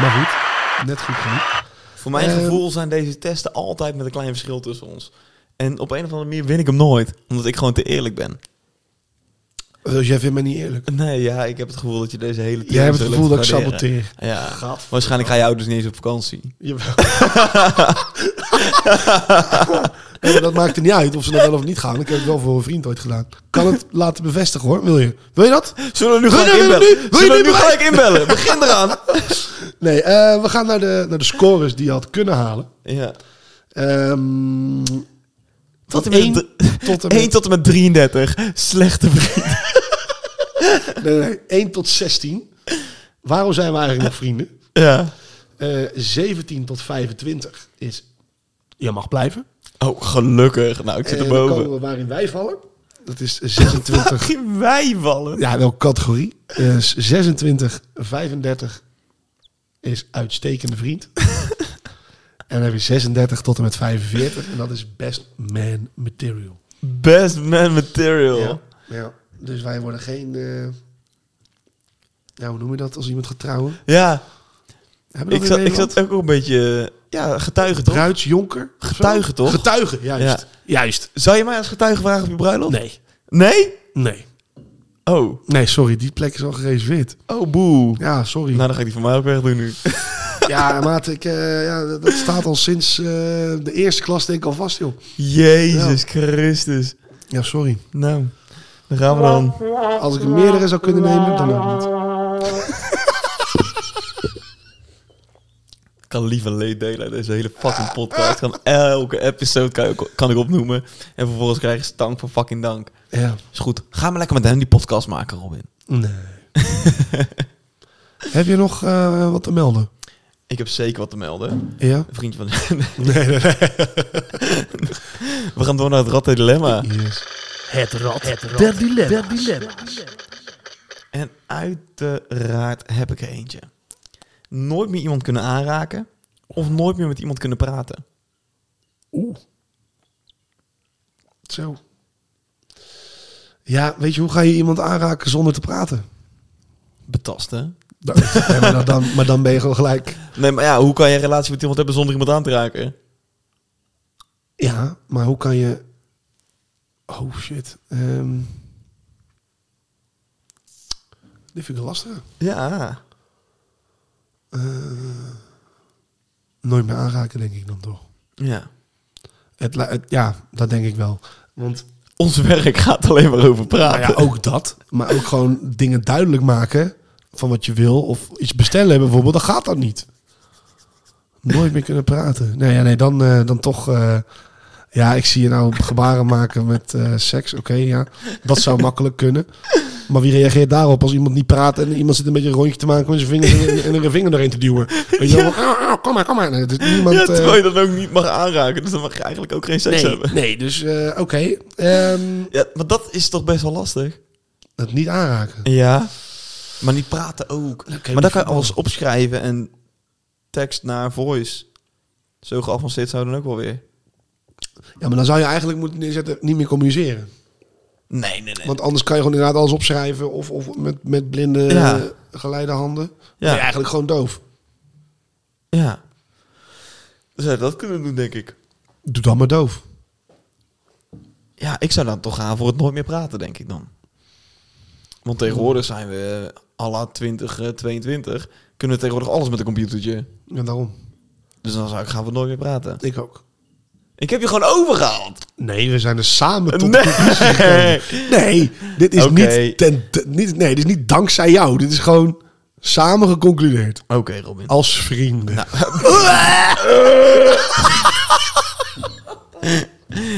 Maar goed, net goed genoeg. Voor mijn Ehm. gevoel zijn deze testen altijd met een klein verschil tussen ons. En op een of andere manier win ik hem nooit. Omdat ik gewoon te eerlijk ben. Dus jij vindt mij niet eerlijk. Nee, ja, ik heb het gevoel dat je deze hele tijd Jij hebt het zo gevoel loopt dat ik te waarderen. saboteer. Ja, Gadver- waarschijnlijk ga je ouders niet eens op vakantie. Jawel. Nee, maar dat maakt er niet uit of ze naar wel of niet gaan. Ik heb het wel voor een vriend ooit gedaan. Kan het laten bevestigen hoor, wil je? Wil je dat? Zullen we nu Wil je gelijk nu- inbellen? wil je Zullen we nu nu gelijk inbellen? Begin eraan. Nee, eh, we gaan naar de, naar de scores die je had kunnen halen. Ja. Ehm, Tot en met... van één dr- tot en 1 met... tot en met 33. Slechte vriend. Nee, nee, 1 tot 16. Waarom zijn we eigenlijk nog vrienden? Ja. Eh, 17 tot 25 is... Je mag blijven. Oh, gelukkig. Nou, ik zit Eh, dan erboven. komen we waarin wij vallen. Dat is 26... Geen wij vallen. Ja, welke categorie? Dus 26, 35 is uitstekende vriend. en dan heb je 36 tot en met 45. En dat is best man material. Best man material. Ja. Ja. Dus wij worden geen... eh, ja, hoe noem je dat als iemand gaat trouwen? Ja, Hebben we ik dat zat, in ik Nederland? zat ook een beetje eh, ja, getuige toch? Bruidsjonker? of zo? Getuige, toch? Getuige, juist. Juist. Zou je mij als getuige vragen op je bruiloft? Nee. Nee? Nee. Oh. Nee, sorry. Die plek is al gereserveerd. Oh, boe. Ja, sorry. Nou, dan ga ik die van mij ook weg doen nu. Ja, maat, ik, eh, ja, dat- dat staat al sinds eh, de eerste klas denk ik al vast, joh. Jezus Christus. Ja, sorry. Nou, daar gaan we dan. Als ik er meerdere zou kunnen nemen, dan ook niet. Ik kan liever leed delen uit deze hele fucking podcast. Kan elke episode kan ik, kan ik opnoemen. En vervolgens krijgen ze dank voor fucking dank. Ja. Is goed. Ga maar lekker met hem die podcast maken, Robin. Nee. Heb je nog eh, wat te melden? Ik heb zeker wat te melden. Ja? Een vriendje van... Nee, nee, nee. we gaan door naar het Rad der Dilemma. Yes. Het rad, het rad der dilemma's. En uiteraard heb ik er eentje. Nooit meer iemand kunnen aanraken. Of nooit meer met iemand kunnen praten. Oeh. Zo. Ja, weet je, hoe ga je iemand aanraken zonder te praten? Betasten. Ja, maar, dan, maar dan ben je gewoon gelijk. Nee, maar ja, hoe kan je een relatie met iemand hebben zonder iemand aan te raken? Ja, maar hoe kan je... Oh, shit. Ehm. Dit vind ik lastig. Ja. Nooit meer aanraken, denk ik dan toch. Ja. Het, li- het- ja, dat denk ik wel. Want Ons werk gaat alleen maar over praten. nou ja, ook dat, maar ook gewoon dingen duidelijk maken van wat je wil of iets bestellen bijvoorbeeld, dan gaat dat niet. Nooit meer kunnen praten. Nee, ja, nee dan, eh, dan toch. eh, ja, ik zie je nou gebaren maken met eh, seks. Oké, ja, dat zou makkelijk kunnen. Maar wie reageert daarop als iemand niet praat en iemand zit een beetje een rondje te maken met zijn vinger en- en er een vinger doorheen te duwen? Weet je wel, "Ah, ah, kom maar, kom maar. Nee, dus niemand, ja, eh, terwijl je dan ook niet mag aanraken. Dus dan mag je eigenlijk ook geen seks nee, hebben. nee, dus eh, oké. ehm, Ja, maar dat is toch best wel lastig? het niet aanraken. Ja. Maar niet praten ook. Oké, maar dat kan je maar- alles opschrijven en tekst naar voice. Zo geavanceerd zou dan ook wel weer. Ja, maar dan zou je eigenlijk moeten neerzetten niet meer communiceren. Nee, nee, nee. Want anders kan je gewoon inderdaad alles opschrijven of, of met, met blinde Ja. eh, geleide handen. Ja. Ja. Ben je eigenlijk gewoon doof. Ja. Zou je dat kunnen doen, denk ik. Doe dan maar doof. Ja, ik zou dan toch gaan voor het nooit meer praten, denk ik dan. Want tegenwoordig zijn we eh, à la 20, eh, 22. Kunnen we tegenwoordig alles met een computertje. Ja, daarom. Dus dan zou ik gaan voor nooit meer praten. Ik ook. Ik heb je gewoon overgehaald. Nee, we zijn er samen tot Nee. de conclusie gekomen. Nee, dit is Oké. niet, ten, ten- niet, nee, dit is niet dankzij jou. Dit is gewoon samen geconcludeerd. Oké, Robin. Als vrienden. Nou.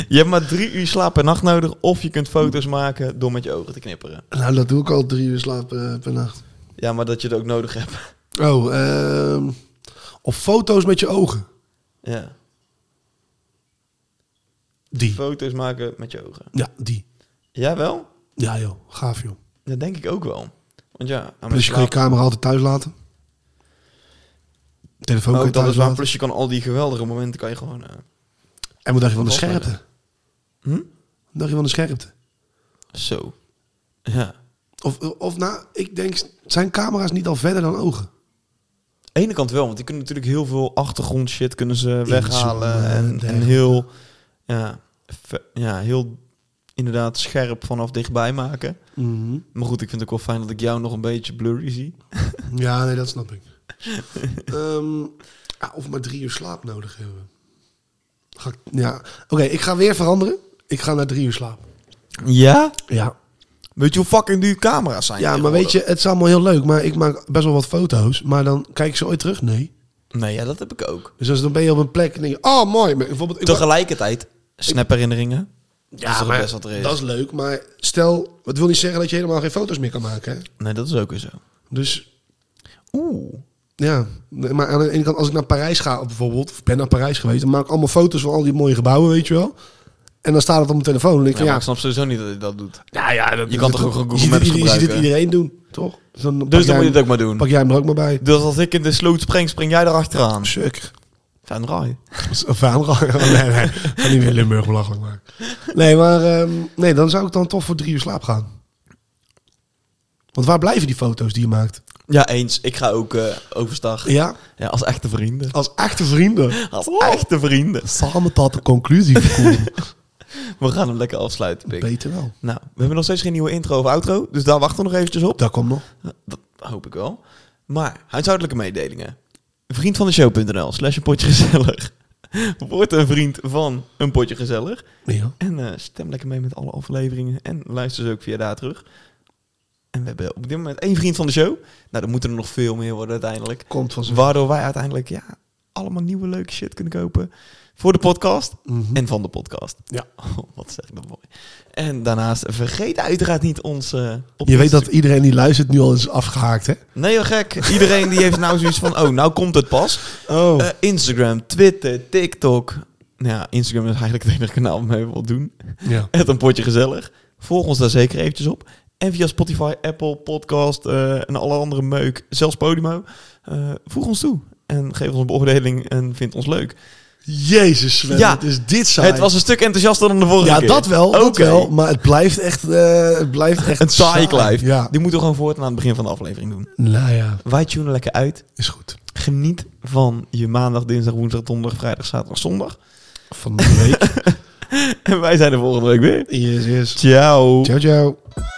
Je hebt maar drie uur slaap per nacht nodig. Of je kunt foto's maken door met je ogen te knipperen. Nou, dat doe ik al drie uur slapen eh, per nacht. Ja, maar dat je het ook nodig hebt. Oh, ehm, of foto's met je ogen. Ja. Die. Foto's maken met je ogen. Ja, die. Jawel? Ja joh, gaaf joh. Dat denk ik ook wel. Want ja, aan mijn Plus je kan je slaap- camera altijd thuis laten. Telefoon kan ook Oh, je dat thuis is waar. laten. Plus je kan al die geweldige momenten kan je gewoon... eh, En wat dacht je van de Wat scherpte? Hm? Wat dacht je van de scherpte? Zo. Ja. Of, of nou, ik denk, zijn camera's niet al verder dan ogen? Aan de ene kant wel, want die kunnen natuurlijk heel veel achtergrondshit kunnen ze weghalen. Inzoomen en En, en dergelijke. heel... Ja, ver- ja, heel inderdaad scherp vanaf dichtbij maken. Maar goed, ik vind het ook wel fijn dat ik jou nog een beetje blurry zie. Ja, nee, dat snap ik. Ehm, ah, of maar drie uur slaap nodig hebben. Ga ik- ja, oké, ik ga weer veranderen. Ik ga naar drie uur slaap. Ja? Ja, Weet je hoe fucking duur camera's zijn? ja maar weet je, het is allemaal heel leuk. Maar ik maak best wel wat foto's. Maar dan kijk ik ze ooit terug. Nee. tegenwoordig? Nee, ja, dat heb ik ook. Dus als dan ben je op een plek en denk je, oh mooi. Maar bijvoorbeeld, ik wa- Tegelijkertijd, snapherinneringen. ja, is dat toch Ah, maar, best wat er is. dat is leuk. Maar stel, het wil niet zeggen dat je helemaal geen foto's meer kan maken. Hè? Nee, dat is ook weer zo. Dus Oeh. Ja, nee, maar aan de ene kant, als ik naar Parijs ga bijvoorbeeld, of ben naar Parijs geweest, dan maak ik allemaal foto's van al die mooie gebouwen, weet je wel. En dan staat het op mijn telefoon. En ik Ja, denk, maar ja, ik snap sowieso niet dat je dat doet. ja, ja, dat- je kan dat- toch ook gewoon je Google ziet Maps het- je ziet het gebruiken? iedereen doen, toch? Dus dan, pak Dus dan jij moet je hem- het ook maar doen. Pak jij hem er ook maar bij. Dus als ik in de sloot spring, spring jij erachteraan. Suk. Fijn raai. Vaan, nee, nee. Ga niet weer Limburg belachelijk maken. Nee, maar ehm, nee, dan zou ik dan toch voor drie uur slaap gaan. Want waar blijven die foto's die je maakt? Ja, eens. Ik ga ook eh, overstag. Ja, Ja, Oh. als echte vrienden. als echte vrienden. Als echte vrienden. Samen tot de conclusie gekomen. We gaan hem lekker afsluiten, Pik. Beter wel. Nou, we hebben nog steeds geen nieuwe intro of outro, dus daar wachten we nog eventjes op. Daar komt nog. Dat hoop ik wel. Maar, huishoudelijke mededelingen. Vriend van de show.nl slash een potje gezellig. Word een vriend van een potje gezellig. Ja. En eh, stem lekker mee met alle afleveringen en luister ze ook via daar terug. En we hebben op dit moment één vriend van de show. Nou, er moeten er nog veel meer worden uiteindelijk. Komt van zijn Waardoor wij uiteindelijk ja, allemaal nieuwe leuke shit kunnen kopen. Voor de podcast en van de podcast. Mhm. Ja. Oh, wat zeg ik dat mooi. En daarnaast vergeet uiteraard niet ons... eh, op Je weet Insta- dat iedereen die luistert nu al is afgehaakt, hè? Nee, joh, gek. Iedereen die heeft nou zoiets van... Oh, nou komt het pas. Oh. Eh, Instagram, Twitter, TikTok. Nou ja, Instagram is eigenlijk het enige kanaal waarmee we wat doen. ja. Het een potje gezellig. Volg ons daar zeker eventjes op. En via Spotify, Apple, Podcast eh, en alle andere meuk, zelfs Podimo. eh, voeg ons toe. En geef ons een beoordeling en vind ons leuk. Jezus, Sven. Ja. Het is dit saai. Het was een stuk enthousiaster dan de vorige ja, keer. dat wel, dat Oké. wel. Maar het blijft echt... eh, het blijft echt Een saai lijf. kluif. Ja. Die moeten we gewoon voortaan aan het begin van de aflevering doen. Nou ja, Wij tunen lekker uit. is goed. Geniet van je maandag, dinsdag, woensdag, donderdag, vrijdag, zaterdag, zondag. Van de week. En wij zijn er volgende week weer. yes, yes. Ciao. Ciao, ciao.